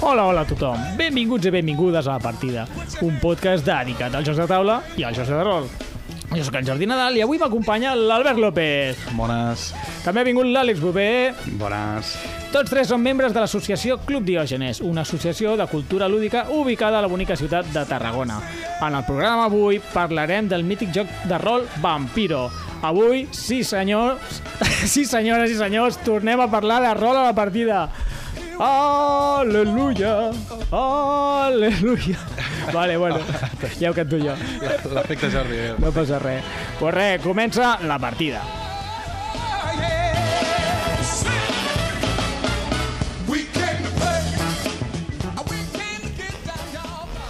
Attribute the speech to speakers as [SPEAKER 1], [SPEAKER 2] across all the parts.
[SPEAKER 1] Hola, hola a tothom. Benvinguts i benvingudes a La Partida, un podcast dedicat als jocs de taula i als jocs de rol. Jo sóc en Jordi Nadal i avui m'acompanya l'Albert López.
[SPEAKER 2] Bones,
[SPEAKER 1] També ha vingut l'Àlex Bové.
[SPEAKER 2] bones.
[SPEAKER 1] Tots tres són membres de l'associació Club Diògenes, una associació de cultura lúdica ubicada a la bonica ciutat de Tarragona. En el programa avui parlarem del mític joc de rol Vampiro. Avui, sí senyors, sí senyores i senyors, tornem a parlar de rol a la partida. Aleluia, aleluia. Vale, bueno, ja ho canto jo.
[SPEAKER 2] L'efecte Jordi. eh?
[SPEAKER 1] No passa res. Pues res, comença la partida.
[SPEAKER 3] Ah, We can play. We can get down.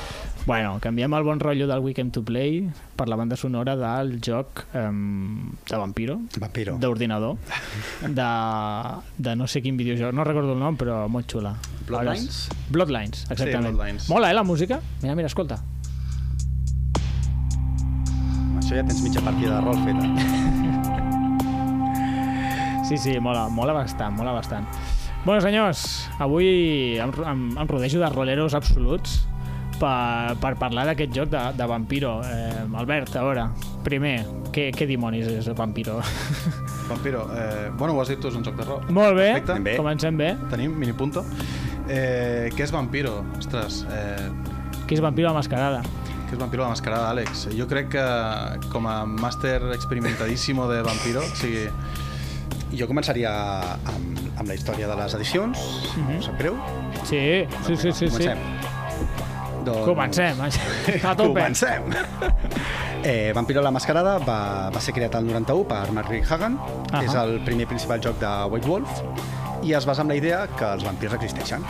[SPEAKER 1] Bueno, canviem el bon rotllo del Weekend to Play per la banda sonora del joc um, de Vampiro,
[SPEAKER 2] Vampiro.
[SPEAKER 1] d'ordinador, de, de no sé quin videojoc, no recordo el nom, però molt xula.
[SPEAKER 2] Bloodlines?
[SPEAKER 1] Ara és- Bloodlines, exactament.
[SPEAKER 2] Bloodlines.
[SPEAKER 1] Mola, eh, la música? Mira, mira, escolta.
[SPEAKER 2] Amb Això ja tens mitja partida de rol feta.
[SPEAKER 1] Sí, sí, mola, mola bastant, mola bastant. Bueno, senyors, avui em, em, em rodejo de roleros absoluts per, per parlar d'aquest joc de, de Vampiro. Eh, Albert, a veure, primer, què, què dimonis és Vampiro?
[SPEAKER 2] Vampiro, eh, bueno, ho has dit tu, és un joc de rol.
[SPEAKER 1] Molt bé,
[SPEAKER 2] Perfecte.
[SPEAKER 1] bé, comencem bé.
[SPEAKER 2] Tenim minipunto. Eh, què és Vampiro? Ostres, eh,
[SPEAKER 1] Qui és Vampiro la Mascarada?
[SPEAKER 2] què és Vampiro la mascarada, Àlex? Jo crec que com a màster experimentadíssimo de Vampiro, o sigui,
[SPEAKER 4] Jo començaria amb, amb la història de les edicions, mm -hmm. no sap greu.
[SPEAKER 1] Sí, Mhm. sí, sí, sí. sí.
[SPEAKER 4] Comencem. Doncs...
[SPEAKER 1] Comencem, a tope.
[SPEAKER 4] Comencem. Eh, Vampiro la Mascarada va, va ser creat el 91 per Mark Hagan,
[SPEAKER 1] Ahà.
[SPEAKER 4] que és el primer principal joc de White Wolf, i es basa en la idea que els vampirs existeixen,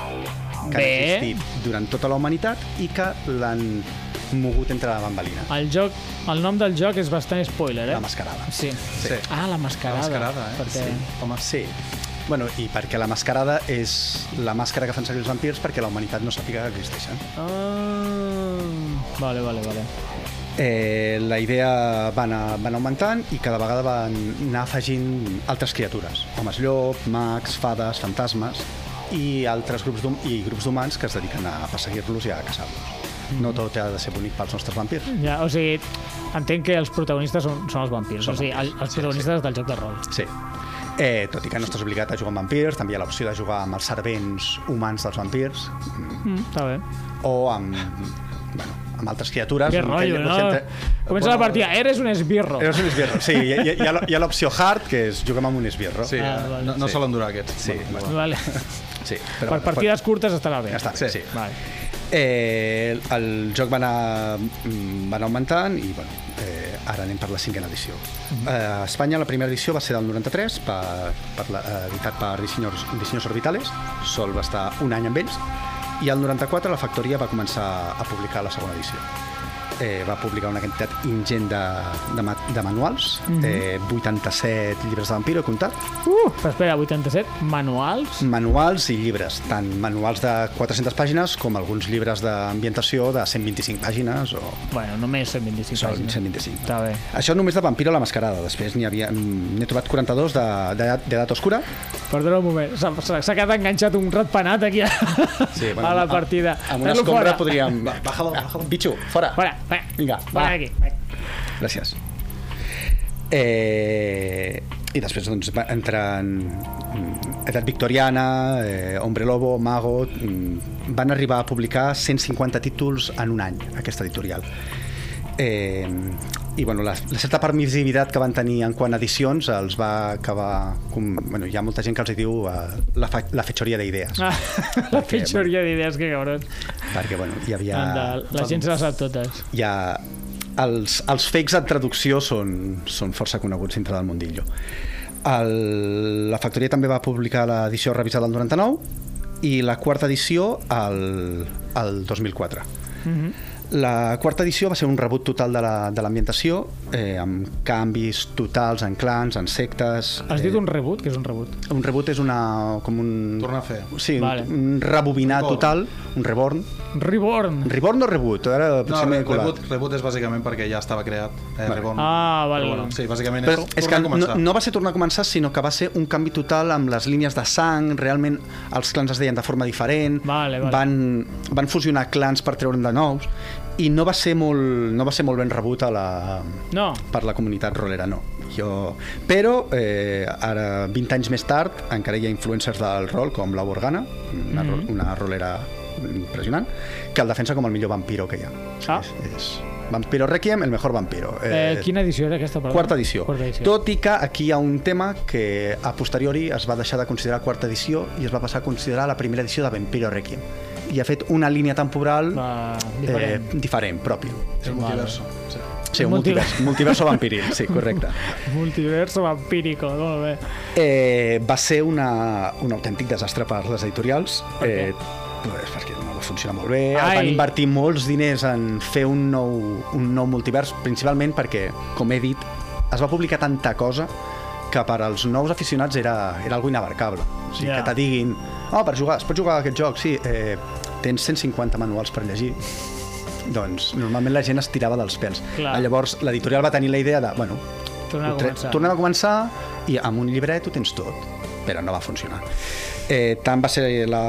[SPEAKER 4] que
[SPEAKER 1] Bé.
[SPEAKER 4] han existit durant tota la humanitat i que l'han mogut entre la bambalina,
[SPEAKER 1] El, joc, el nom del joc és bastant spoiler, eh?
[SPEAKER 4] la mascarada.
[SPEAKER 1] Sí.
[SPEAKER 2] Sí.
[SPEAKER 1] Ah, la mascarada.
[SPEAKER 2] La mascarada, eh?
[SPEAKER 1] Perquè...
[SPEAKER 2] Sí.
[SPEAKER 4] Home, sí. Bueno, i perquè la mascarada és la màscara que fan servir els vampirs perquè la humanitat no sàpiga que existeixen.
[SPEAKER 1] Ah, vale, vale, vale.
[SPEAKER 4] Eh, la idea va anar, va anar augmentant i cada vegada van anar afegint altres criatures. Homes llop, mags, fades, fantasmes i altres grups d'hum- i grups d'humans que es dediquen a perseguir-los i a caçar-los. No
[SPEAKER 1] Mm.
[SPEAKER 4] tot ha de ser bonic pels nostres vampirs.
[SPEAKER 1] Ja, o sigui, entenc que els protagonistes són, són els vampirs.
[SPEAKER 4] Són
[SPEAKER 1] o sigui, el,
[SPEAKER 4] vampirs,
[SPEAKER 1] els
[SPEAKER 4] sí,
[SPEAKER 1] protagonistes del joc de rol.
[SPEAKER 4] Sí. Eh, tot i que no estàs obligat a jugar amb vampirs, també hi ha l'opció de jugar amb els servents humans dels vampirs
[SPEAKER 1] Mm, està bé.
[SPEAKER 4] o amb, bueno, amb altres criatures.
[SPEAKER 1] Que
[SPEAKER 4] una mica
[SPEAKER 1] rotllo, no?
[SPEAKER 4] llavors entre-
[SPEAKER 1] Comença la
[SPEAKER 4] Bueno,
[SPEAKER 1] partida. Eres un esbirro.
[SPEAKER 4] Eres un esbirro, sí. Hi ha, hi ha, hi ha l'opció hard, que és juguem amb un esbirro.
[SPEAKER 2] sí,
[SPEAKER 1] Ah,
[SPEAKER 2] eh,
[SPEAKER 1] vale.
[SPEAKER 2] no, no
[SPEAKER 4] Sí.
[SPEAKER 2] solen durar aquests.
[SPEAKER 4] Sí, bueno,
[SPEAKER 1] Vale.
[SPEAKER 4] sí.
[SPEAKER 1] Per
[SPEAKER 4] bueno,
[SPEAKER 1] partides curtes estarà bé.
[SPEAKER 4] Ja està,
[SPEAKER 2] Sí.
[SPEAKER 4] sí. sí.
[SPEAKER 1] Vale.
[SPEAKER 4] Eh, el joc va anar, mm, va anar augmentant i bueno, eh, ara anem per la cinquena edició. eh, a Espanya la primera edició va ser del 93, per, per la, eh, editat per Dissenyors, Dissenyors Orbitales, sol va estar un any amb ells, i al 94 la Factoria va començar a publicar la segona edició. Eh, va publicar una quantitat ingent de, de, ma- de manuals, eh, 87 llibres de vampiro, he comptat,
[SPEAKER 1] Uh, però espera, 87 manuals?
[SPEAKER 4] manuals i llibres, tant manuals de 400 pàgines com alguns llibres d'ambientació de 125 pàgines o
[SPEAKER 1] Bueno, només 125
[SPEAKER 4] són
[SPEAKER 1] pàgines.
[SPEAKER 4] 125.
[SPEAKER 1] Està bé.
[SPEAKER 4] Això només de Vampiro a la Mascarada, després n'hi havia... mm, N'he trobat 42 de- d'edat de, d'edat oscura.
[SPEAKER 1] Perdona un moment, s'ha s'ha- s'ha quedat enganxat un ratpenat aquí a, sí, bueno, a la partida.
[SPEAKER 4] Amb, amb una
[SPEAKER 1] Fes-lo
[SPEAKER 4] escombra
[SPEAKER 1] fora.
[SPEAKER 4] podríem... Bájalo, bájalo. Bitxo, fora.
[SPEAKER 1] Fora, fora.
[SPEAKER 4] Vinga,
[SPEAKER 1] fora
[SPEAKER 4] va.
[SPEAKER 1] d'aquí.
[SPEAKER 4] Gràcies. Eh, I després doncs, va- entren mm, edat victoriana, eh, Hombre Lobo, Mago... mm, Van arribar a publicar 150 títols en un any, aquesta editorial. Eh, I bueno, la, la certa permissivitat que van tenir en quant a edicions els va acabar... Com, bueno, hi ha molta gent que els hi diu eh, la, fa, la fetxoria d'idees.
[SPEAKER 1] Ah, la
[SPEAKER 4] Perquè,
[SPEAKER 1] pitjoria d'idees, que cabron.
[SPEAKER 4] Perquè, bueno, hi havia...
[SPEAKER 1] Ja, la gent se les sap totes.
[SPEAKER 4] hi ha... Els, els fakes en traducció són, són força coneguts dintre del mundillo. El, la factoria també va publicar l'edició revisada del 99 i la quarta edició el, el 2004.
[SPEAKER 1] Mm-hmm.
[SPEAKER 4] La quarta edició va ser un rebut total de la- de l'ambientació, la, eh, amb canvis totals en clans, en sectes...
[SPEAKER 1] Has dit
[SPEAKER 4] eh,
[SPEAKER 1] un rebut, que és un rebut.
[SPEAKER 4] un reboot és una... com un...
[SPEAKER 2] Torna a fer.
[SPEAKER 4] Sí,
[SPEAKER 1] Vale.
[SPEAKER 4] vale. un rebobinar
[SPEAKER 2] Reborn.
[SPEAKER 4] total, un reborn,
[SPEAKER 1] Reborn.
[SPEAKER 4] Reborn o Reboot? Ara
[SPEAKER 2] No,
[SPEAKER 4] potser m'he colat.
[SPEAKER 2] reboot, reboot és bàsicament perquè ja estava creat. Eh,
[SPEAKER 4] Vale.
[SPEAKER 2] Reborn.
[SPEAKER 1] Ah, val.
[SPEAKER 2] Reborn. Sí, bàsicament
[SPEAKER 4] Però
[SPEAKER 2] és,
[SPEAKER 4] és que
[SPEAKER 2] tornar a
[SPEAKER 4] no,
[SPEAKER 2] començar.
[SPEAKER 4] no va ser tornar a començar, sinó que va ser un canvi total amb les línies de sang, realment els clans es deien de forma diferent,
[SPEAKER 1] Vale, vale.
[SPEAKER 4] Van, van fusionar clans per treure'n de nous, i no va ser molt, no va ser molt ben rebut a la,
[SPEAKER 1] No.
[SPEAKER 4] per la comunitat rolera, no. Jo... Però, eh, ara, 20 anys més tard, encara hi ha influencers del rol, com la Borgana, una, mm
[SPEAKER 1] Mm-hmm.
[SPEAKER 4] -hmm. una rolera impressionant, que el defensa com el millor vampiro que hi ha.
[SPEAKER 1] Ah.
[SPEAKER 4] És, és Vampiro Requiem, el mejor vampiro.
[SPEAKER 1] Eh, quina edició era aquesta? Perdó?
[SPEAKER 4] Quarta edició.
[SPEAKER 1] Quarta edició.
[SPEAKER 4] Tot i que aquí hi ha un tema que a posteriori es va deixar de considerar quarta edició i es va passar a considerar la primera edició de Vampiro Requiem. I ha fet una línia temporal
[SPEAKER 1] Va, diferent.
[SPEAKER 4] Eh, diferent, pròpia.
[SPEAKER 2] És un multiverso. Sí.
[SPEAKER 4] Sí, un
[SPEAKER 1] Multivers-
[SPEAKER 4] multivers, multiverso vampiril, sí, correcte.
[SPEAKER 1] Multiverso vampírico, molt bé.
[SPEAKER 4] Eh, va ser una, un autèntic desastre per les editorials.
[SPEAKER 1] Per què?
[SPEAKER 4] doncs perquè no va funcionar molt bé,
[SPEAKER 1] Ai.
[SPEAKER 4] Ai. van invertir molts diners en fer un nou, un nou multivers, principalment perquè, com he dit, es va publicar tanta cosa que per als nous aficionats era, era algo inabarcable. O
[SPEAKER 1] Ja.
[SPEAKER 4] sigui, yeah. que te diguin, oh, per jugar, es pot jugar a aquest joc, sí, eh, tens 150 manuals per llegir. Doncs normalment la gent es tirava dels pèls.
[SPEAKER 1] Clar.
[SPEAKER 4] Llavors l'editorial va tenir la idea de, bueno,
[SPEAKER 1] Tornem a
[SPEAKER 4] Tre-
[SPEAKER 1] començar.
[SPEAKER 4] Tornem a començar i amb un llibret ho tens tot, però no va funcionar. Eh, tant va ser la...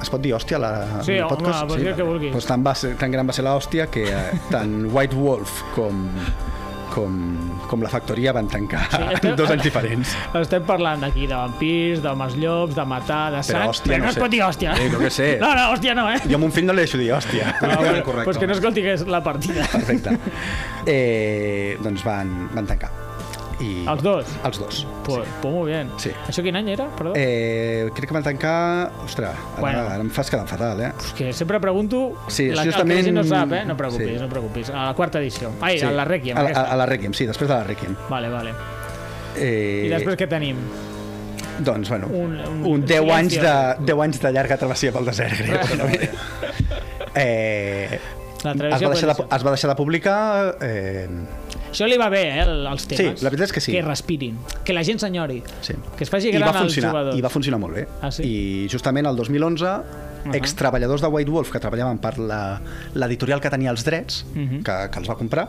[SPEAKER 4] Es pot dir hòstia la,
[SPEAKER 1] Sí,
[SPEAKER 4] el
[SPEAKER 1] home,
[SPEAKER 4] podcast?
[SPEAKER 1] pots dir el que
[SPEAKER 4] vale.
[SPEAKER 1] vulguis.
[SPEAKER 4] Doncs tan, va ser, tan gran va ser l'hòstia que eh, tant White Wolf com, com, com la factoria van tancar
[SPEAKER 1] Sí, estem-
[SPEAKER 4] sí, dos anys diferents.
[SPEAKER 1] Estem parlant aquí de vampirs, d'homes llops, de matar, de sang...
[SPEAKER 4] Però hòstia,
[SPEAKER 1] no,
[SPEAKER 4] no
[SPEAKER 1] es
[SPEAKER 4] sé.
[SPEAKER 1] pot dir hòstia.
[SPEAKER 4] Eh, jo què sé.
[SPEAKER 1] No, no, hòstia no, eh?
[SPEAKER 4] Jo a mon fill no li deixo dir hòstia.
[SPEAKER 1] Ah, bueno,
[SPEAKER 2] Correcte.
[SPEAKER 1] Pues que no escolti que és la partida.
[SPEAKER 4] Perfecte. Eh, doncs van, van tancar. I,
[SPEAKER 1] Els dos?
[SPEAKER 4] Els dos.
[SPEAKER 1] Pues, pues muy bien.
[SPEAKER 4] Sí.
[SPEAKER 1] Això quin any era, perdó?
[SPEAKER 4] Eh, crec que van tancar... Ostres, ara,
[SPEAKER 1] Bueno.
[SPEAKER 4] bueno. ara em fas quedar fatal, eh?
[SPEAKER 1] És que sempre pregunto...
[SPEAKER 4] Sí,
[SPEAKER 1] la,
[SPEAKER 4] justament-
[SPEAKER 1] El que la gent no sap, eh? No preocupis,
[SPEAKER 4] Sí.
[SPEAKER 1] no preocupis. A la quarta edició. Ai,
[SPEAKER 4] Sí.
[SPEAKER 1] a la Requiem.
[SPEAKER 4] A, la-
[SPEAKER 1] aquesta.
[SPEAKER 4] a, a la Requiem, sí, després de la Requiem.
[SPEAKER 1] Vale, vale.
[SPEAKER 4] Eh,
[SPEAKER 1] I després què tenim?
[SPEAKER 4] Doncs, bueno,
[SPEAKER 1] Un-
[SPEAKER 4] un,
[SPEAKER 1] un
[SPEAKER 4] un, un 10,
[SPEAKER 1] silenci.
[SPEAKER 4] anys de, 10 anys de llarga travessia pel desert, crec. eh,
[SPEAKER 1] La
[SPEAKER 4] es,
[SPEAKER 1] travessia
[SPEAKER 4] va deixar de,
[SPEAKER 1] provincial.
[SPEAKER 4] es va deixar de publicar... Eh,
[SPEAKER 1] Això li va bé, eh, el- els temes.
[SPEAKER 4] Sí, la veritat és que sí.
[SPEAKER 1] Que respirin, que la gent s'enyori,
[SPEAKER 4] sí.
[SPEAKER 1] que es faci
[SPEAKER 4] I
[SPEAKER 1] gran
[SPEAKER 4] va
[SPEAKER 1] el
[SPEAKER 4] funcionar,
[SPEAKER 1] jugador.
[SPEAKER 4] i va funcionar molt bé.
[SPEAKER 1] Ah, sí?
[SPEAKER 4] I justament el 2011, uh -huh. extreballadors de White Wolf que treballaven per la- l'editorial que tenia els drets, uh
[SPEAKER 1] Mhm.
[SPEAKER 4] -huh. que, que els va comprar,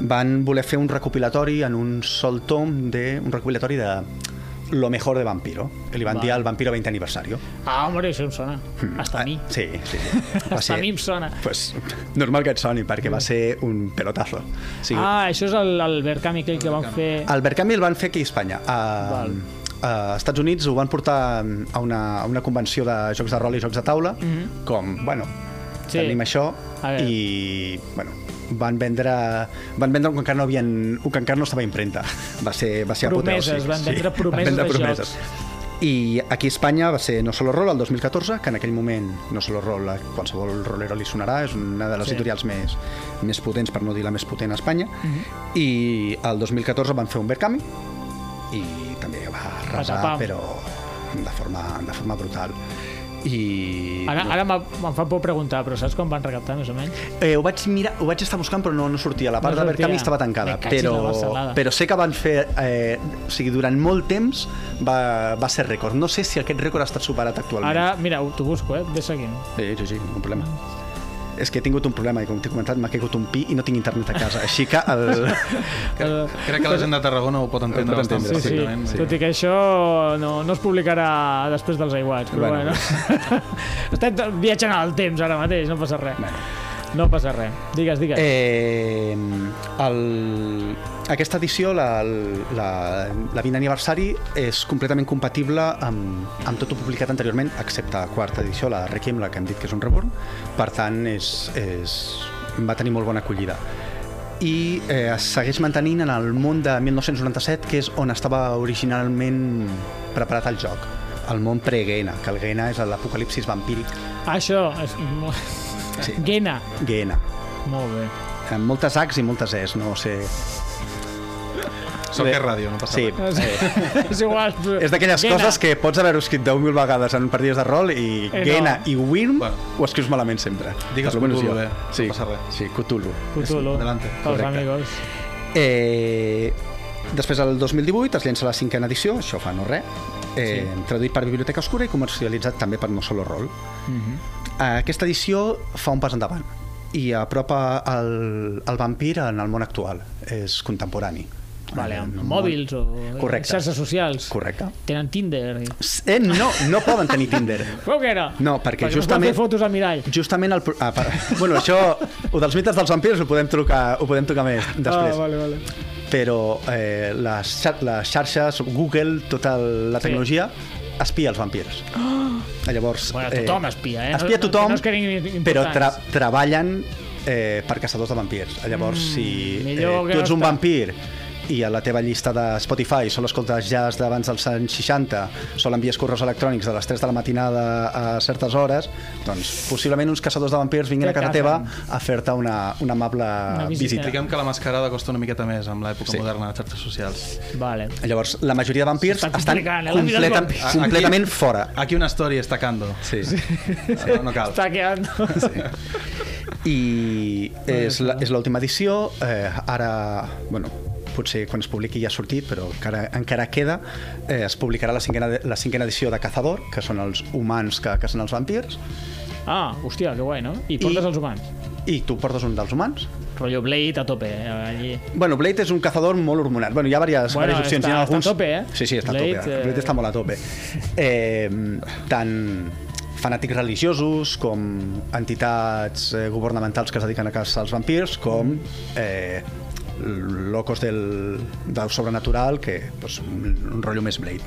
[SPEAKER 4] van voler fer un recopilatori en un sol tom, de, un recopilatori de lo mejor de Vampiro, que li van
[SPEAKER 1] Va.
[SPEAKER 4] dir el Vampiro 20 aniversario. Ah,
[SPEAKER 1] Ah, home, això em sona.
[SPEAKER 4] Hmm.
[SPEAKER 1] Hasta a mi.
[SPEAKER 4] Sí, sí. Va
[SPEAKER 1] Hasta a mi em sona.
[SPEAKER 4] Pues, normal que et soni, perquè
[SPEAKER 1] Mm.
[SPEAKER 4] va ser un pelotazo. O sigui, ah.
[SPEAKER 1] Ah, això és el, el Verkami aquell que van fer...
[SPEAKER 4] El Verkami el van fer aquí a Espanya. A,
[SPEAKER 1] Val.
[SPEAKER 4] a Estats Units ho van portar a una, a una convenció de jocs de rol i jocs de taula, mm
[SPEAKER 1] Mhm.
[SPEAKER 4] -hmm. com, bueno,
[SPEAKER 1] Sí.
[SPEAKER 4] sí. tenim això,
[SPEAKER 1] A veure.
[SPEAKER 4] i, bueno, van vendre, van vendre un que encara no, havien, un que encara no estava a impremta. Va ser, va ser
[SPEAKER 1] Promeses,
[SPEAKER 4] apoteòsic,
[SPEAKER 1] van vendre promeses de jocs.
[SPEAKER 4] i aquí a Espanya va ser No Solo Roll el 2014, que en aquell moment No Solo Roll, a qualsevol rolero li sonarà, és una de les
[SPEAKER 1] Sí.
[SPEAKER 4] sí. editorials més, més potents, per no dir la més potent a Espanya, uh
[SPEAKER 1] Mhm.
[SPEAKER 4] -huh. i el 2014 van fer un Verkami, i també va arrasar,
[SPEAKER 1] Patapam.
[SPEAKER 4] però de forma, de forma brutal. I...
[SPEAKER 1] Ara, ara m'ha- me'n fa por preguntar, però saps quan van recaptar, més o menys?
[SPEAKER 4] Eh, ho, vaig mirar, ho vaig estar buscant però no, no sortia, la part
[SPEAKER 1] No
[SPEAKER 4] no de
[SPEAKER 1] sortia.
[SPEAKER 4] Verkami estava tancada,
[SPEAKER 1] Me cachis la
[SPEAKER 4] però,
[SPEAKER 1] barcelada.
[SPEAKER 4] però sé que van fer, eh, o sigui, durant molt temps va, va ser rècord. No sé si aquest rècord ha estat superat actualment.
[SPEAKER 1] Ara, mira, ho- t'ho busco, eh? Ve seguint.
[SPEAKER 4] Sí, sí, sí, un problema. És que he tingut un problema i com t'he comentat m'ha caigut un pi i no tinc internet a casa, així que el...
[SPEAKER 1] El-
[SPEAKER 2] Crec que la gent de Tarragona ho pot entendre
[SPEAKER 4] Ho pot
[SPEAKER 2] bastant
[SPEAKER 4] entendre,
[SPEAKER 1] Sí, sí.
[SPEAKER 2] perfectament.
[SPEAKER 1] sí.
[SPEAKER 2] Sí.
[SPEAKER 1] Tot i que això no, no es publicarà després dels aiguats, però bueno.
[SPEAKER 4] Bueno.
[SPEAKER 1] bueno. Estem t- viatjant al temps ara mateix, no passa res. Bueno. No passa res. Digues, digues. Eh,
[SPEAKER 4] Eh, el... Aquesta edició, la, la, la 20 aniversari, és completament compatible amb, amb tot el publicat anteriorment, excepte la quarta edició, la Requiem, la que hem dit que és un reborn. Per tant, és, és... va tenir molt bona acollida. I eh, es segueix mantenint en el món de 1997, que és on estava originalment preparat el joc el món pre-Gena, que el Gena és l'apocalipsis vampíric.
[SPEAKER 1] Això és... mo-
[SPEAKER 4] Sí.
[SPEAKER 1] Gena.
[SPEAKER 4] Gena.
[SPEAKER 1] Molt bé.
[SPEAKER 4] Amb moltes H's i moltes Es, no sé...
[SPEAKER 2] Soc que és ràdio, no passa
[SPEAKER 4] Sí,
[SPEAKER 2] res.
[SPEAKER 1] És, és igual.
[SPEAKER 4] Eh. És d'aquelles
[SPEAKER 1] Gena.
[SPEAKER 4] coses que pots haver-ho escrit 10.000 vegades en partides de rol i
[SPEAKER 1] Eh, no.
[SPEAKER 4] Gena i Wyrm
[SPEAKER 2] Bueno.
[SPEAKER 4] ho escrius malament sempre.
[SPEAKER 2] Digues
[SPEAKER 4] Almenys
[SPEAKER 2] Cthulhu,
[SPEAKER 4] jo.
[SPEAKER 2] bé, no
[SPEAKER 4] Sí,
[SPEAKER 2] passa res.
[SPEAKER 4] Sí, Cthulhu.
[SPEAKER 1] Cthulhu.
[SPEAKER 2] Adelante.
[SPEAKER 1] Pels
[SPEAKER 4] Correcte.
[SPEAKER 1] amigos.
[SPEAKER 4] Eh, després, el 2018, es llença la cinquena edició, això fa no res, eh, sí. traduït per Biblioteca Oscura i comercialitzat també per No Solo Roll.
[SPEAKER 1] Mhm.
[SPEAKER 4] Eh, Aquesta edició fa un pas endavant i apropa el, el vampir en el món actual. És contemporani.
[SPEAKER 1] Vale,
[SPEAKER 4] Eh,
[SPEAKER 1] amb
[SPEAKER 4] no-
[SPEAKER 1] mòbils o
[SPEAKER 4] Correcte.
[SPEAKER 1] xarxes socials.
[SPEAKER 4] Correcte.
[SPEAKER 1] Tenen Tinder. i-
[SPEAKER 4] Eh, no, no poden tenir Tinder.
[SPEAKER 1] Veu que era?
[SPEAKER 4] No,
[SPEAKER 1] perquè no
[SPEAKER 4] perquè
[SPEAKER 1] es pot
[SPEAKER 4] justament-
[SPEAKER 1] fer fotos al mirall.
[SPEAKER 4] Justament el... pro- Ah, per... bueno, això, o dels mites dels vampirs ho podem trucar, ho podem trucar més després.
[SPEAKER 1] Ah, vale, vale.
[SPEAKER 4] però eh, les, xar les xarxes, Google, tota la tecnologia, sí. espia els vampirs. Oh! Llavors,
[SPEAKER 1] Bueno, tothom espia, eh?
[SPEAKER 4] Espia
[SPEAKER 1] No-
[SPEAKER 4] tothom,
[SPEAKER 1] no es creguin
[SPEAKER 4] però
[SPEAKER 1] importants.
[SPEAKER 4] tra treballen eh, per caçadors de vampirs. Llavors, mm, si eh,
[SPEAKER 1] millor que
[SPEAKER 4] tu ets un
[SPEAKER 1] no estar.
[SPEAKER 4] vampir i a la teva llista de Spotify sol escoltes jazz d'abans dels anys 60, sol envies correus electrònics de les 3 de la matinada a certes hores, doncs possiblement uns caçadors de vampirs vinguin
[SPEAKER 1] Te
[SPEAKER 4] a casa teva
[SPEAKER 1] cacen.
[SPEAKER 4] a fer-te una, una amable
[SPEAKER 1] visita.
[SPEAKER 4] visita.
[SPEAKER 2] Diguem que la mascarada costa una miqueta més amb l'època
[SPEAKER 4] Sí.
[SPEAKER 2] sí. moderna de les xarxes socials.
[SPEAKER 1] Vale.
[SPEAKER 4] Llavors, la majoria de vampirs
[SPEAKER 1] S'està
[SPEAKER 4] estan
[SPEAKER 1] complicant, eh, la vida dels
[SPEAKER 4] completa,
[SPEAKER 1] vampirs.
[SPEAKER 4] completament fora.
[SPEAKER 2] Aquí una història està cando.
[SPEAKER 4] Sí.
[SPEAKER 2] No, no cal.
[SPEAKER 1] Està quedant...
[SPEAKER 4] I és la- és l'última edició. Eh, ara, bueno, potser quan es publiqui ja ha sortit, però encara, encara queda. Eh, es publicarà la cinquena, la cinquena edició de Cazador, que són els humans que cacen els vampirs,
[SPEAKER 1] Ah, hòstia, que guai, no? I portes
[SPEAKER 4] I-
[SPEAKER 1] els humans.
[SPEAKER 4] i tu portes un dels humans.
[SPEAKER 1] Rollo Blade a tope, eh, allí.
[SPEAKER 4] Bueno, Blade és un cazador molt hormonat. Bueno, hi ha diverses,
[SPEAKER 1] Bueno,
[SPEAKER 4] bueno, diverses opcions.
[SPEAKER 1] està-
[SPEAKER 4] hi ha
[SPEAKER 1] està
[SPEAKER 4] alguns...
[SPEAKER 1] a tope, eh?
[SPEAKER 4] Sí, sí, està
[SPEAKER 1] Blade,
[SPEAKER 4] a tope. Eh...
[SPEAKER 1] eh,
[SPEAKER 4] Blade està molt a tope. Eh, tant fanàtics religiosos com entitats eh, governamentals que es dediquen a caçar els vampirs, com eh, locos del, del sobrenatural, que pues, un un rotllo més Blade.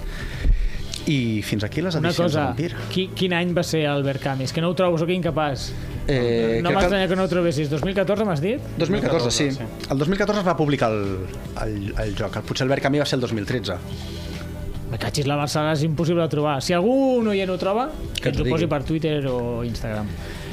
[SPEAKER 4] I fins aquí les
[SPEAKER 1] Una
[SPEAKER 4] edicions de
[SPEAKER 1] cosa,
[SPEAKER 4] vampir.
[SPEAKER 1] qui, quin any va ser Albert Camus? Que no ho trobo, sóc incapaç.
[SPEAKER 4] Eh,
[SPEAKER 1] no
[SPEAKER 4] crec que-
[SPEAKER 1] m'estranya que no ho trobessis. 2014 m'has dit?
[SPEAKER 4] 2014, sí. El 2014 es va publicar el, el, el joc. Potser el Verk Camí va ser el 2013.
[SPEAKER 1] Me catxis la Barcelona, és impossible de trobar. Si algú no hi ho troba, que,
[SPEAKER 4] Que
[SPEAKER 1] ens ho
[SPEAKER 4] ens digui.
[SPEAKER 1] posi per Twitter o Instagram.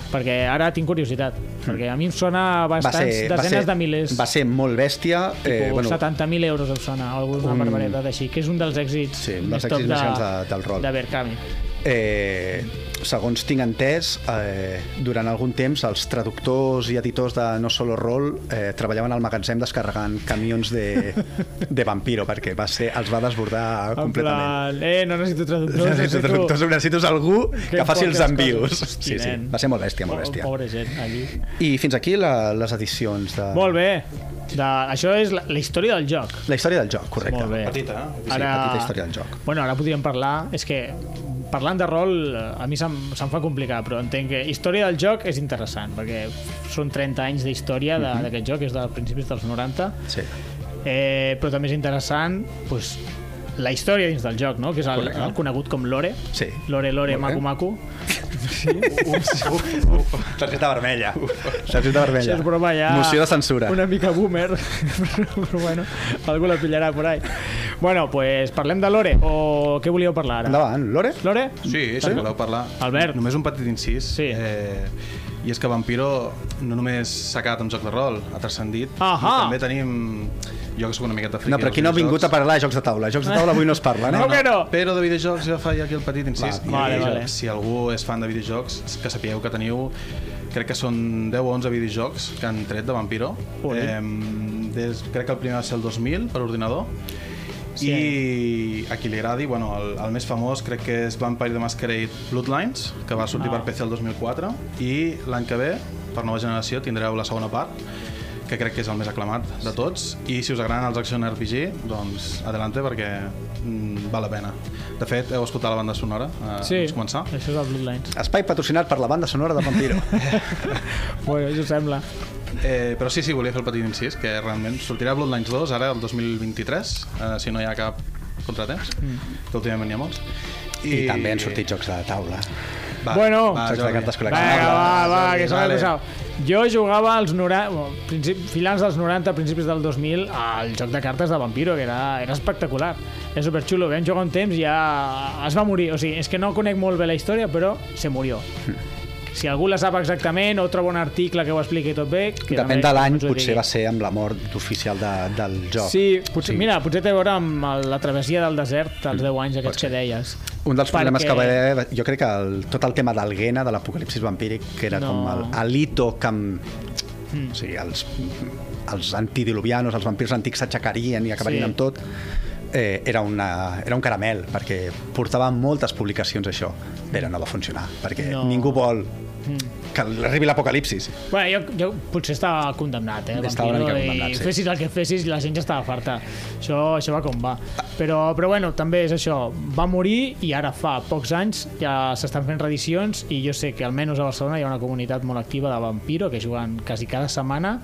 [SPEAKER 1] Perquè ara tinc curiositat. Perquè a mi em sona
[SPEAKER 4] Hmm. va
[SPEAKER 1] bastants
[SPEAKER 4] ser, va
[SPEAKER 1] desenes
[SPEAKER 4] ser,
[SPEAKER 1] de milers.
[SPEAKER 4] Va ser molt bèstia.
[SPEAKER 1] eh,
[SPEAKER 4] Eh, bueno,
[SPEAKER 1] 70.000 euros em sona, o alguna
[SPEAKER 4] un-
[SPEAKER 1] barbaritat així, que és un dels èxits
[SPEAKER 4] Sí, un
[SPEAKER 1] més
[SPEAKER 4] dels èxits
[SPEAKER 1] top
[SPEAKER 4] més grans de- del rol.
[SPEAKER 1] de Verkami.
[SPEAKER 4] eh, segons tinc entès, eh, durant algun temps els traductors i editors de No Solo Roll eh, treballaven al magatzem descarregant camions de, de Vampiro, perquè va ser, els va desbordar
[SPEAKER 1] En
[SPEAKER 4] completament.
[SPEAKER 1] plan, eh, no necessito traductor,
[SPEAKER 4] No, necessito traductors, necessito algú que
[SPEAKER 1] em
[SPEAKER 4] faci
[SPEAKER 1] porti
[SPEAKER 4] els
[SPEAKER 1] les
[SPEAKER 4] envios.
[SPEAKER 1] coses. Hosti,
[SPEAKER 4] Sí, sí,
[SPEAKER 1] nen.
[SPEAKER 4] va ser molt bèstia, molt
[SPEAKER 1] Po-
[SPEAKER 4] bèstia.
[SPEAKER 1] Pobre gent, allí.
[SPEAKER 4] I fins aquí la, les edicions de...
[SPEAKER 1] Molt bé. De, això és la, la història del joc.
[SPEAKER 4] La història del joc, correcte.
[SPEAKER 1] Molt bé.
[SPEAKER 2] Petita, eh?
[SPEAKER 4] Sí, petita història del joc.
[SPEAKER 1] Bueno, ara podríem parlar... És que parlant de rol, eh, a mi se'm, se'm fa complicar, però entenc que història del joc és interessant, perquè són 30 anys d'història de-
[SPEAKER 4] Mhm.
[SPEAKER 1] d'aquest joc, és de principis dels 90,
[SPEAKER 4] Sí.
[SPEAKER 1] eh, però també és interessant pues, la història dins del joc, no? que és el,
[SPEAKER 4] Correcte.
[SPEAKER 1] el conegut com Lore.
[SPEAKER 4] Sí.
[SPEAKER 1] Lore, Lore, Maco,
[SPEAKER 4] Molt bé.
[SPEAKER 1] Maco.
[SPEAKER 4] Targeta vermella. Targeta vermella.
[SPEAKER 1] Això és broma ja...
[SPEAKER 4] Moció de censura.
[SPEAKER 1] Una mica boomer, però, però bueno, algú la pillarà por ahí. Bueno, pues parlem de Lore, o què volíeu parlar ara?
[SPEAKER 4] Endavant, Lore?
[SPEAKER 1] Lore?
[SPEAKER 2] Sí, si voleu parlar.
[SPEAKER 1] Albert.
[SPEAKER 2] Només un petit incís.
[SPEAKER 1] Sí.
[SPEAKER 2] Eh, I és que Vampiro no només s'ha quedat amb joc de rol, ha transcendit.
[SPEAKER 1] Ahà.
[SPEAKER 2] També tenim... Jo que soc una miqueta friqui.
[SPEAKER 4] No, però
[SPEAKER 2] dels
[SPEAKER 4] aquí no ha vingut a
[SPEAKER 2] videojocs.
[SPEAKER 4] parlar de jocs de taula. Jocs de taula avui no es parla,
[SPEAKER 1] No,
[SPEAKER 4] no?
[SPEAKER 1] que no.
[SPEAKER 2] Però de videojocs ja faig aquí el petit incís.
[SPEAKER 4] Va,
[SPEAKER 2] I
[SPEAKER 1] vale,
[SPEAKER 2] videojocs,
[SPEAKER 1] vale.
[SPEAKER 2] Si algú és fan de videojocs, que sapigueu que teniu... Crec que són 10 o 11 videojocs que han tret de Vampiro.
[SPEAKER 1] Ole.
[SPEAKER 2] des, crec que el primer va ser el 2000 per ordinador.
[SPEAKER 1] Sí.
[SPEAKER 2] I a qui li agradi, bueno, el, el més famós crec que és Vampire the Masquerade Bloodlines, que va sortir
[SPEAKER 1] Ah.
[SPEAKER 2] per PC el 2004, i l'any que ve, per nova generació, tindreu la segona part, que crec que és el més aclamat de tots, i si us agraden els action RPG, doncs adelante, perquè mm, val la pena. De fet, heu escoltat la banda sonora eh,
[SPEAKER 1] Sí,
[SPEAKER 2] abans de començar?
[SPEAKER 1] això és el Bloodlines.
[SPEAKER 4] Espai patrocinat per la banda sonora de Vampiro.
[SPEAKER 1] Bueno, això sembla.
[SPEAKER 2] Eh, però sí, sí, volia fer el petit incís, que realment sortirà Bloodlines 2 ara, el 2023, eh, si no hi ha cap contratemps, mm. que últimament n'hi ha molts.
[SPEAKER 4] I, també han sortit jocs de taula.
[SPEAKER 2] Va,
[SPEAKER 1] Bueno.
[SPEAKER 2] va,
[SPEAKER 4] Jocs de
[SPEAKER 2] Jordi.
[SPEAKER 4] cartes col·lectives.
[SPEAKER 1] Vinga, va, va,
[SPEAKER 2] Jordi,
[SPEAKER 1] que s'ha
[SPEAKER 2] vale.
[SPEAKER 1] vale. Jo jugava als 90, bueno, princip, finals dels 90, principis del 2000, al joc de cartes de Vampiro, que era, era espectacular. És superxulo, vam jugar un temps i ja es va morir. O sigui, és que no conec molt bé la història, però se murió. Si algú la sap exactament o troba un article que ho expliqui tot bé... Que
[SPEAKER 4] Depèn
[SPEAKER 1] també
[SPEAKER 4] de l'any,
[SPEAKER 1] ens ho
[SPEAKER 4] potser
[SPEAKER 1] digui.
[SPEAKER 4] va ser amb la mort oficial de, del joc.
[SPEAKER 1] Sí, potser, sí.
[SPEAKER 4] Sí.
[SPEAKER 1] mira, potser té a veure amb el- la travessia del desert als 10 anys aquests que deies.
[SPEAKER 4] Un dels problemes
[SPEAKER 1] Perquè-
[SPEAKER 4] que va haver, jo crec que el, tot el tema d'Alguena, de l'apocalipsis vampíric, que era
[SPEAKER 1] No.
[SPEAKER 4] no. com el alito que... Amb, o sigui, els, els antidiluvianos, els vampirs antics s'aixecarien i acabarien
[SPEAKER 1] Sí.
[SPEAKER 4] sí. amb tot. eh, era, una, era un caramel, perquè portava moltes publicacions això, però no va funcionar, perquè
[SPEAKER 1] No.
[SPEAKER 4] no. ningú vol que arribi l'apocalipsis.
[SPEAKER 1] Bueno, jo, jo potser estava condemnat, eh?
[SPEAKER 4] Estava una
[SPEAKER 1] Vampiro,
[SPEAKER 4] mica condemnat,
[SPEAKER 1] i
[SPEAKER 4] sí.
[SPEAKER 1] Fessis el que fessis, la gent ja estava farta. Això, això va com va. Però, però bueno, també és això. Va morir i ara fa pocs anys ja s'estan fent reedicions i jo sé que almenys a Barcelona hi ha una comunitat molt activa de Vampiro que juguen quasi cada setmana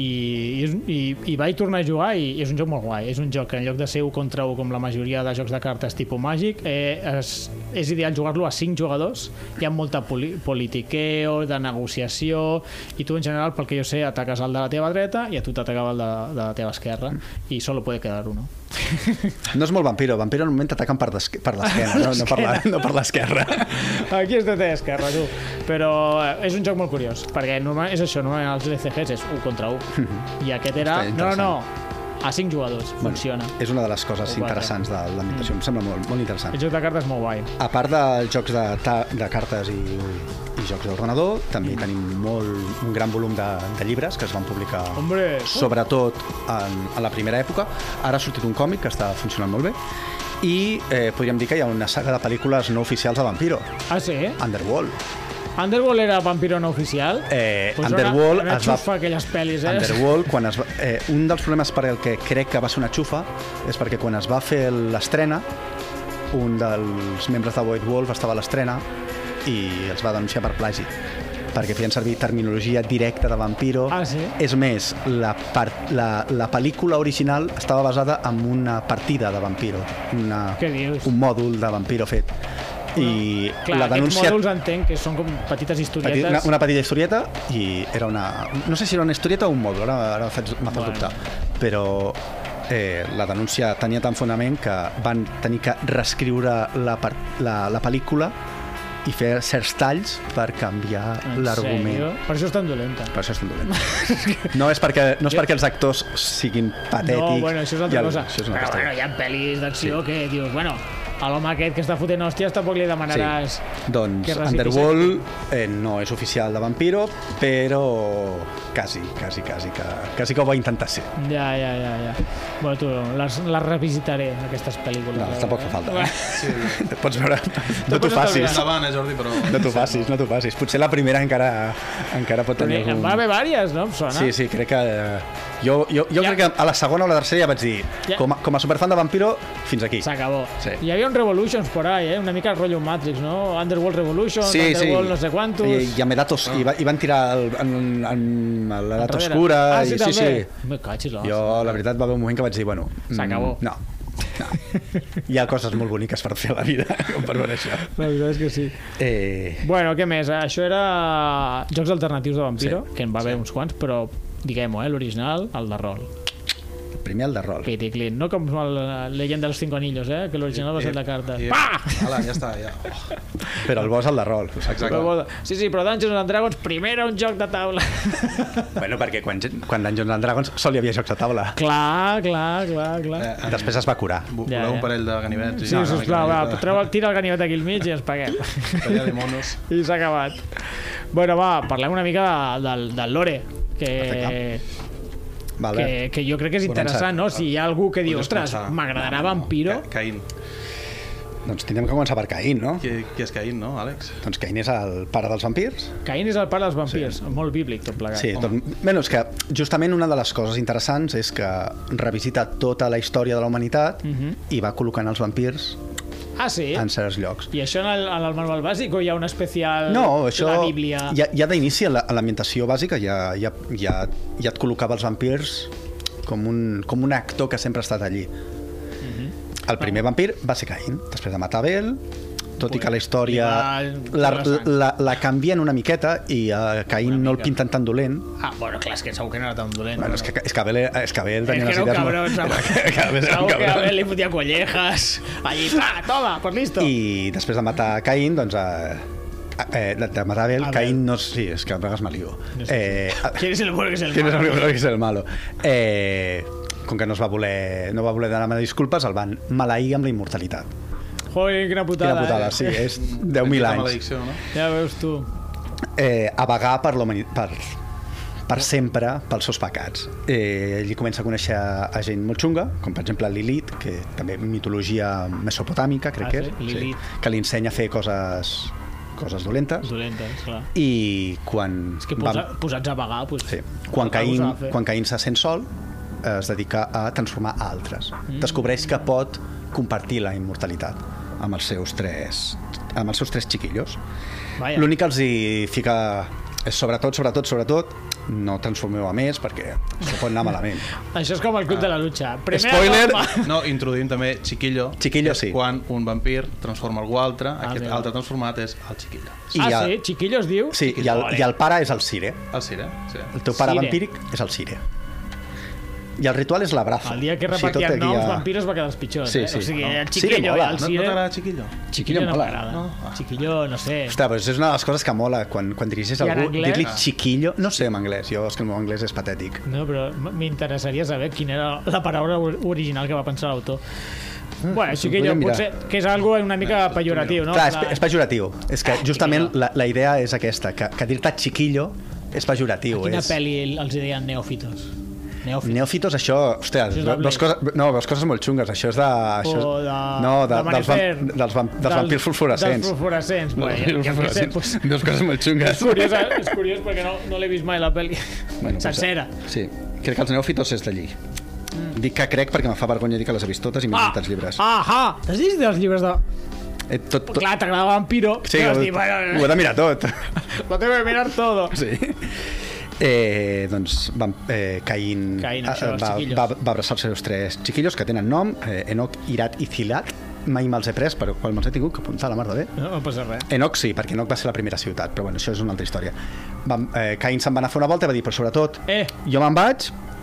[SPEAKER 1] i, i, és- i, i vaig tornar a jugar i, i és un joc molt guai, és un joc que en lloc de ser 1 contra 1 com la majoria de jocs de cartes tipus màgic eh, és, és ideal jugar-lo a 5 jugadors hi ha molta poli politiqueo de negociació i tu en general pel que jo sé ataques el de la teva dreta i a tu t'atacava el de, de la teva esquerra i solo puede quedar uno
[SPEAKER 4] No és molt vampiro, vampiro normalment t'ataquen per, desque- per l'esquena, no, no, per la- no per l'esquerra.
[SPEAKER 1] Aquí és de teva esquerra, tu. Però eh, és un joc molt curiós, perquè normal, és això, normalment els DCGs és 1 contra 1. I aquest era...
[SPEAKER 4] Està
[SPEAKER 1] No,
[SPEAKER 4] interessant.
[SPEAKER 1] no, a 5 jugadors, funciona.
[SPEAKER 4] És una de les coses
[SPEAKER 1] Quatre.
[SPEAKER 4] interessants de l'ambientació, em sembla molt, molt interessant.
[SPEAKER 1] El joc de cartes és molt guai.
[SPEAKER 4] A part dels jocs de, ta- de cartes i, i jocs d'ordenador, també tenim molt, un gran volum de, de llibres que es van publicar
[SPEAKER 1] Hombre!
[SPEAKER 4] sobretot en, en la primera època. Ara ha sortit un còmic que està funcionant molt bé i eh, podríem dir que hi ha una saga de pel·lícules no oficials de Vampiro,
[SPEAKER 1] Ah, sí?
[SPEAKER 4] Underworld.
[SPEAKER 1] Underworld era vampiro no oficial? Doncs
[SPEAKER 4] Eh,
[SPEAKER 1] Pues
[SPEAKER 4] Underworld
[SPEAKER 1] Una, una
[SPEAKER 4] es va-
[SPEAKER 1] xufa, aquelles pel·lis, eh?
[SPEAKER 4] Underworld, quan es va, eh, un dels problemes per el que crec que va ser una xufa és perquè quan es va fer l'estrena un dels membres de Void Wolf estava a l'estrena i els va denunciar per plagi perquè feien servir terminologia directa de vampiro.
[SPEAKER 1] Ah, sí?
[SPEAKER 4] És més, la, part, la, la pel·lícula original estava basada en una partida de vampiro, una,
[SPEAKER 1] Què dius?
[SPEAKER 4] un mòdul de vampiro fet. I
[SPEAKER 1] Clar,
[SPEAKER 4] la denúncia...
[SPEAKER 1] aquests mòduls entenc que són com petites historietes.
[SPEAKER 4] Petit, una, una petita historieta i era una... No sé si era una historieta o un mòdul, ara, ara faig- m'ha
[SPEAKER 1] Bueno.
[SPEAKER 4] fet dubtar. Però eh, la denúncia tenia tan fonament que van tenir que reescriure la, par- la, la pel·lícula i fer certs talls per canviar
[SPEAKER 1] En sèrio?
[SPEAKER 4] l'argument.
[SPEAKER 1] Per això és tan dolenta.
[SPEAKER 4] Per això és tan dolent. No és perquè, no és perquè els actors siguin patètics.
[SPEAKER 1] No, bueno, això és una altra
[SPEAKER 4] i el-
[SPEAKER 1] cosa.
[SPEAKER 4] Això és una
[SPEAKER 1] Però
[SPEAKER 4] altra
[SPEAKER 1] bueno, hi ha pel·lis d'acció que dius, bueno, a l'home aquest que està fotent hòsties tampoc li demanaràs...
[SPEAKER 4] Doncs
[SPEAKER 1] que reciti
[SPEAKER 4] Underworld eh, no és oficial de Vampiro, però quasi, quasi, quasi, que, quasi que ho va intentar ser.
[SPEAKER 1] Ja, ja, ja, ja. Bueno, tu, les, les revisitaré, aquestes pel·lícules.
[SPEAKER 4] No,
[SPEAKER 1] a veure.
[SPEAKER 4] tampoc fa falta. eh?
[SPEAKER 1] Va.
[SPEAKER 4] Sí. Pots veure... No t'ho
[SPEAKER 2] Pots
[SPEAKER 4] facis.
[SPEAKER 2] estar Endavant, eh, Jordi, però...
[SPEAKER 4] No t'ho facis, no t'ho facis. Potser la primera encara, encara pot
[SPEAKER 1] Però
[SPEAKER 4] tenir
[SPEAKER 1] en
[SPEAKER 4] algun...
[SPEAKER 1] va haver diverses, no? Em sona.
[SPEAKER 4] Sí, sí, crec que... eh, Jo, jo, jo
[SPEAKER 1] Ja.
[SPEAKER 4] crec que a la segona o la tercera ja vaig dir
[SPEAKER 1] Ja.
[SPEAKER 4] com a, com a superfan de Vampiro, fins aquí.
[SPEAKER 1] S'acabó.
[SPEAKER 4] Sí.
[SPEAKER 1] Hi havia un Revolutions por ahí, eh? una mica el rotllo Matrix, no? Underworld Revolutions, Underworld no sé quantos... Ah.
[SPEAKER 4] I, i amb edatos, i, va, i van tirar el, en, en, en l'edat
[SPEAKER 1] Enrere.
[SPEAKER 4] oscura.
[SPEAKER 1] Ah, sí,
[SPEAKER 4] i,
[SPEAKER 1] també.
[SPEAKER 4] sí,
[SPEAKER 1] Me cachis la
[SPEAKER 4] sí. Jo, la veritat, va haver un moment que vaig dir, bueno... mm,
[SPEAKER 1] S'acabó.
[SPEAKER 4] No, no. Hi ha coses molt boniques per fer a la vida, com per veure això.
[SPEAKER 1] La veritat és que sí.
[SPEAKER 4] Eh,
[SPEAKER 1] Bueno, què més? Això era Jocs Alternatius de Vampiro, sí. que en va haver uns quants, però diguem-ho, eh? l'original, el de rol.
[SPEAKER 4] primer el de rol.
[SPEAKER 1] Piticlin, no com el eh, Legend dels Cinco Anillos, eh? que l'original va ser el de cartes.
[SPEAKER 2] I...
[SPEAKER 1] Pa!
[SPEAKER 2] Ala, ja està, ja. Oh,
[SPEAKER 4] Però el bo és el de rol.
[SPEAKER 2] exacte.
[SPEAKER 1] Però, bo- sí, sí, però Dungeons and Dragons primer era un joc de taula.
[SPEAKER 4] Bueno, perquè quan, quan Dungeons and Dragons sol hi havia jocs de taula.
[SPEAKER 1] clar, clar, clar, clar.
[SPEAKER 2] Eh, eh,
[SPEAKER 4] Després es va curar.
[SPEAKER 2] vo-
[SPEAKER 1] Ja,
[SPEAKER 2] voleu
[SPEAKER 1] ja.
[SPEAKER 2] un parell de ganivets? i
[SPEAKER 1] Sí,
[SPEAKER 2] una
[SPEAKER 1] sisplau,
[SPEAKER 2] mica
[SPEAKER 1] va,
[SPEAKER 2] de-
[SPEAKER 1] treu el, tira el ganivet aquí al mig i ens paguem.
[SPEAKER 2] Parella de monos.
[SPEAKER 1] I s'ha acabat. Bueno, va, parlem una mica de, del, del lore, que,
[SPEAKER 4] Perfecte. Vale.
[SPEAKER 1] que, que jo crec que és
[SPEAKER 4] Començar.
[SPEAKER 1] interessant, no? Si hi ha algú que diu,
[SPEAKER 2] Podries
[SPEAKER 1] ostres,
[SPEAKER 2] començar.
[SPEAKER 4] Ah,
[SPEAKER 1] m'agradarà Vampiro...
[SPEAKER 2] Ca- Caín.
[SPEAKER 4] Doncs tindrem que començar per Caín, no?
[SPEAKER 2] Qui, qui és Caín, no, Àlex?
[SPEAKER 4] Doncs Caín és el pare dels vampirs.
[SPEAKER 1] Caín és el pare dels vampirs, sí. molt bíblic tot plegat.
[SPEAKER 4] Sí, doncs, menys que justament una de les coses interessants és que revisita tota la història de la humanitat i va col·locant els vampirs
[SPEAKER 1] Ah, Mhm. sí?
[SPEAKER 4] en certs llocs.
[SPEAKER 1] I això en el, en el manual bàsic o hi ha un especial...
[SPEAKER 4] No, això...
[SPEAKER 1] eh, La Bíblia...
[SPEAKER 4] Ja, ja d'inici, a la- a l'ambientació bàsica, ja, ja, ja, ja et col·locava els vampirs com un, com un actor que sempre ha estat allí.
[SPEAKER 1] Mhm.
[SPEAKER 4] El primer vampir va ser Caín, després de matar Abel, tot i que la història
[SPEAKER 1] li va
[SPEAKER 4] la,
[SPEAKER 1] treure sang.
[SPEAKER 4] la, la canvien una miqueta i a Caín no el pinten tan dolent.
[SPEAKER 1] Ah, bueno, clar, és que segur que no era tan dolent.
[SPEAKER 4] Bueno, és, que, és que Abel, era- és que Abel
[SPEAKER 1] És
[SPEAKER 4] tenia
[SPEAKER 1] que
[SPEAKER 4] unes
[SPEAKER 1] era un
[SPEAKER 4] idees... molt-
[SPEAKER 1] cabrón,
[SPEAKER 4] Era que Abel era
[SPEAKER 1] segur
[SPEAKER 4] un
[SPEAKER 1] que
[SPEAKER 4] cabrón.
[SPEAKER 1] Abel li fotia collejas, allí, pa, toma, pues listo.
[SPEAKER 4] I després de matar Caín, doncs... Eh, eh, de, de matar Abel,
[SPEAKER 1] Abel.
[SPEAKER 4] Caín no... Sí, és que a vegades me lio.
[SPEAKER 1] No sé
[SPEAKER 4] Eh, a-
[SPEAKER 1] ¿Quién es el bueno que es el
[SPEAKER 4] Sí, no és
[SPEAKER 1] malo?
[SPEAKER 4] el millor que és el malo. Eh, com que no es va voler, no va voler demanar disculpes, el van maleir amb la immortalitat.
[SPEAKER 1] Joder, quina putada,
[SPEAKER 4] Quina putada,
[SPEAKER 1] eh?
[SPEAKER 4] sí, és
[SPEAKER 2] Petita
[SPEAKER 4] 10.000 anys.
[SPEAKER 2] maledicció, no?
[SPEAKER 1] Ja veus tu.
[SPEAKER 4] Eh, a vagar per, la humani- per, per sempre pels seus pecats. Eh, ell comença a conèixer a gent molt xunga, com per exemple Lilith, que també mitologia mesopotàmica, crec
[SPEAKER 1] Ah,
[SPEAKER 4] que
[SPEAKER 1] sí?
[SPEAKER 4] és,
[SPEAKER 1] Lilith.
[SPEAKER 4] que li ensenya a fer coses, coses dolentes.
[SPEAKER 1] Dolentes, clar.
[SPEAKER 4] I quan...
[SPEAKER 1] És que
[SPEAKER 4] va-
[SPEAKER 1] posa, posats a vagar, doncs...
[SPEAKER 4] Sí. Quan,
[SPEAKER 1] toca
[SPEAKER 4] Caín,
[SPEAKER 1] gosar fer.
[SPEAKER 4] quan Caín se sent sol, eh, es dedica a transformar a altres. Mm. Descobreix que pot compartir la immortalitat amb els seus tres, amb els seus tres xiquillos.
[SPEAKER 1] Vaja.
[SPEAKER 4] L'únic que els hi fica és sobretot, sobretot, sobretot, no transformeu a més perquè això pot anar malament.
[SPEAKER 1] Això és com el Club de la Lucha. Primer
[SPEAKER 4] Ah. Spoiler!
[SPEAKER 1] norma.
[SPEAKER 2] No, introduïm també Chiquillo.
[SPEAKER 4] Chiquillo,
[SPEAKER 2] que és
[SPEAKER 4] sí.
[SPEAKER 2] Quan un vampir transforma algú altre, ah, aquest
[SPEAKER 1] mira.
[SPEAKER 2] altre transformat és el Chiquillo.
[SPEAKER 1] Ah,
[SPEAKER 4] hi ha-
[SPEAKER 1] sí? Chiquillo es diu?
[SPEAKER 4] Sí, i el,
[SPEAKER 1] Vale.
[SPEAKER 4] i el pare és el Sire.
[SPEAKER 2] El Cire, sí.
[SPEAKER 4] El teu pare
[SPEAKER 1] Sire.
[SPEAKER 4] vampíric és el Sire. I el ritual és l'abrazo.
[SPEAKER 1] El dia que
[SPEAKER 4] O sigui, tot
[SPEAKER 1] repartien
[SPEAKER 4] aquí hi
[SPEAKER 1] noms,
[SPEAKER 4] ha-
[SPEAKER 1] vampiros va quedar els pitjors,
[SPEAKER 4] Sí,
[SPEAKER 1] eh?
[SPEAKER 4] sí.
[SPEAKER 1] O sigui,
[SPEAKER 4] No.
[SPEAKER 1] el
[SPEAKER 4] Sí,
[SPEAKER 1] Chiquillo
[SPEAKER 4] mola.
[SPEAKER 1] i el
[SPEAKER 2] No,
[SPEAKER 1] Cire...
[SPEAKER 2] no t'agrada Chiquillo?
[SPEAKER 4] Chiquillo
[SPEAKER 1] no
[SPEAKER 4] mola.
[SPEAKER 1] m'agrada.
[SPEAKER 2] No? Ah.
[SPEAKER 1] Chiquillo, no sé.
[SPEAKER 4] Ostres, però és una de les coses que mola quan, quan dirigis
[SPEAKER 1] I en
[SPEAKER 4] algú,
[SPEAKER 1] anglès?
[SPEAKER 4] dir-li
[SPEAKER 1] Ah.
[SPEAKER 4] chiquillo, no sé en anglès, jo és que el meu anglès és patètic.
[SPEAKER 1] No, però m- m'interessaria saber quina era la paraula or- original que va pensar l'autor.
[SPEAKER 4] Ah,
[SPEAKER 1] Bueno, Chiquillo,
[SPEAKER 4] podria mirar. Ah,
[SPEAKER 1] potser que és algo una mica pejoratiu, no?
[SPEAKER 4] No, Clar, és,
[SPEAKER 1] La-
[SPEAKER 4] és pejoratiu, és
[SPEAKER 1] Ah,
[SPEAKER 4] que justament la, la idea és aquesta, que, que dir-te chiquillo és pejoratiu.
[SPEAKER 1] Ah, Quina
[SPEAKER 4] és...
[SPEAKER 1] pel·li els hi deien neòfitos? Neòfitos.
[SPEAKER 4] Neòfitos, això, ostres,
[SPEAKER 1] Això és de Blade.
[SPEAKER 4] veus, coses, no, veus coses molt xungues, això és de... Això és,
[SPEAKER 1] O de,
[SPEAKER 4] no,
[SPEAKER 1] de
[SPEAKER 4] de, dels, vam,
[SPEAKER 1] Manifer.
[SPEAKER 4] dels, vam, dels, vampirs
[SPEAKER 1] Dels
[SPEAKER 4] fosforescents.
[SPEAKER 1] fosforescents. Bueno,
[SPEAKER 4] Dels
[SPEAKER 1] ja, ja, ja, sé,
[SPEAKER 4] fosforescents.
[SPEAKER 1] pues,
[SPEAKER 4] Veus coses molt xungues.
[SPEAKER 1] és, curiós, és curiós perquè no, no l'he vist mai la pel·li bueno,
[SPEAKER 4] pues,
[SPEAKER 1] sencera.
[SPEAKER 4] Sí, crec que els neòfitos és d'allí. Mm. Dic que crec perquè em fa vergonya dir que les he vist totes i m'he ah. els llibres.
[SPEAKER 1] Ah, ah, t'has vist els llibres de...
[SPEAKER 4] Eh, tot, tot,
[SPEAKER 1] Clar, t'agradava Vampiro,
[SPEAKER 4] Sí,
[SPEAKER 1] però
[SPEAKER 4] ho,
[SPEAKER 1] has dit, bueno,
[SPEAKER 4] ho he de mirar tot.
[SPEAKER 1] Lo tengo que mirar todo.
[SPEAKER 4] Sí. Eh, doncs van, eh, Caín,
[SPEAKER 1] Caín,
[SPEAKER 4] eh,
[SPEAKER 1] això, els
[SPEAKER 4] va,
[SPEAKER 1] chiquillos.
[SPEAKER 4] va, va abraçar els seus tres xiquillos que tenen nom, eh, Enoch, Irat i Cilat. Mai me'ls he pres, però quan me'ls he tingut que apuntar la mar de bé.
[SPEAKER 1] No, no passa res.
[SPEAKER 4] Enoch sí, perquè Enoch va ser la primera ciutat, però bueno, això és una altra història. Van, eh, Caín se'n va anar a fer una volta i va dir, però sobretot,
[SPEAKER 1] Eh.
[SPEAKER 4] jo me'n vaig,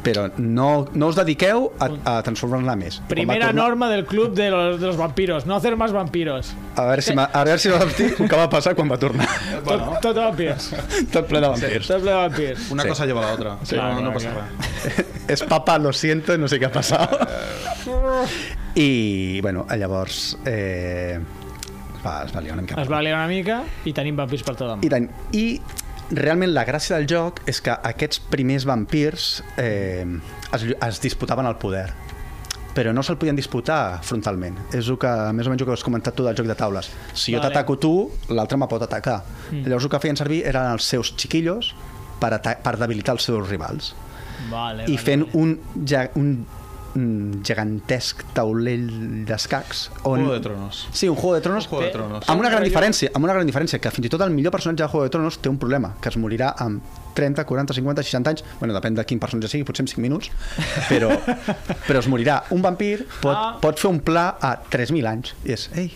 [SPEAKER 4] però no, no us dediqueu a, a transformar-la més. I quan va
[SPEAKER 1] Primera
[SPEAKER 4] tornar-
[SPEAKER 1] norma del club de los, de los vampiros, no hacer más vampiros.
[SPEAKER 4] A veure si, m'ha- a veure si va dir el que va passar quan va tornar.
[SPEAKER 1] Tot, tot vampirs.
[SPEAKER 4] Tot ple de vampirs.
[SPEAKER 1] Tot ple de vampirs.
[SPEAKER 2] Una
[SPEAKER 4] Sí.
[SPEAKER 2] cosa lleva a l'altra. Sí,
[SPEAKER 1] clar,
[SPEAKER 2] no, no
[SPEAKER 1] clar,
[SPEAKER 2] passa
[SPEAKER 1] clar.
[SPEAKER 2] res.
[SPEAKER 4] és papa, lo siento, no sé què ha passat. I, bueno, llavors... Eh, es va, es va liar una mica.
[SPEAKER 1] Es va liar una mica i tenim vampirs per tot
[SPEAKER 4] I
[SPEAKER 1] demà.
[SPEAKER 4] tant. I realment la gràcia del joc és que aquests primers vampirs eh, es, llu- es disputaven el poder però no se'l podien disputar frontalment. És el que, més o menys, el que has comentat tu del joc de taules. Si jo
[SPEAKER 1] Vale.
[SPEAKER 4] t'ataco tu, l'altre me pot atacar. Mm. Llavors el que feien servir eren els seus xiquillos per, ata- per debilitar els seus rivals
[SPEAKER 1] Vale,
[SPEAKER 4] i
[SPEAKER 1] vale,
[SPEAKER 4] fent
[SPEAKER 1] vale.
[SPEAKER 4] un, ge un, un gegantesc taulell d'escacs on...
[SPEAKER 2] Juego de Tronos.
[SPEAKER 4] Sí, un Juego de Tronos.
[SPEAKER 2] Un Juego de Tronos.
[SPEAKER 4] Amb una gran diferència, amb una gran diferència, que fins i tot el millor personatge de Juego de Tronos té un problema, que es morirà amb 30, 40, 50, 60 anys, bueno, depèn de quin personatge sigui, potser en 5 minuts, però, però es morirà. Un vampir pot,
[SPEAKER 1] Ah.
[SPEAKER 4] pot fer un pla a 3.000 anys. I és, ei,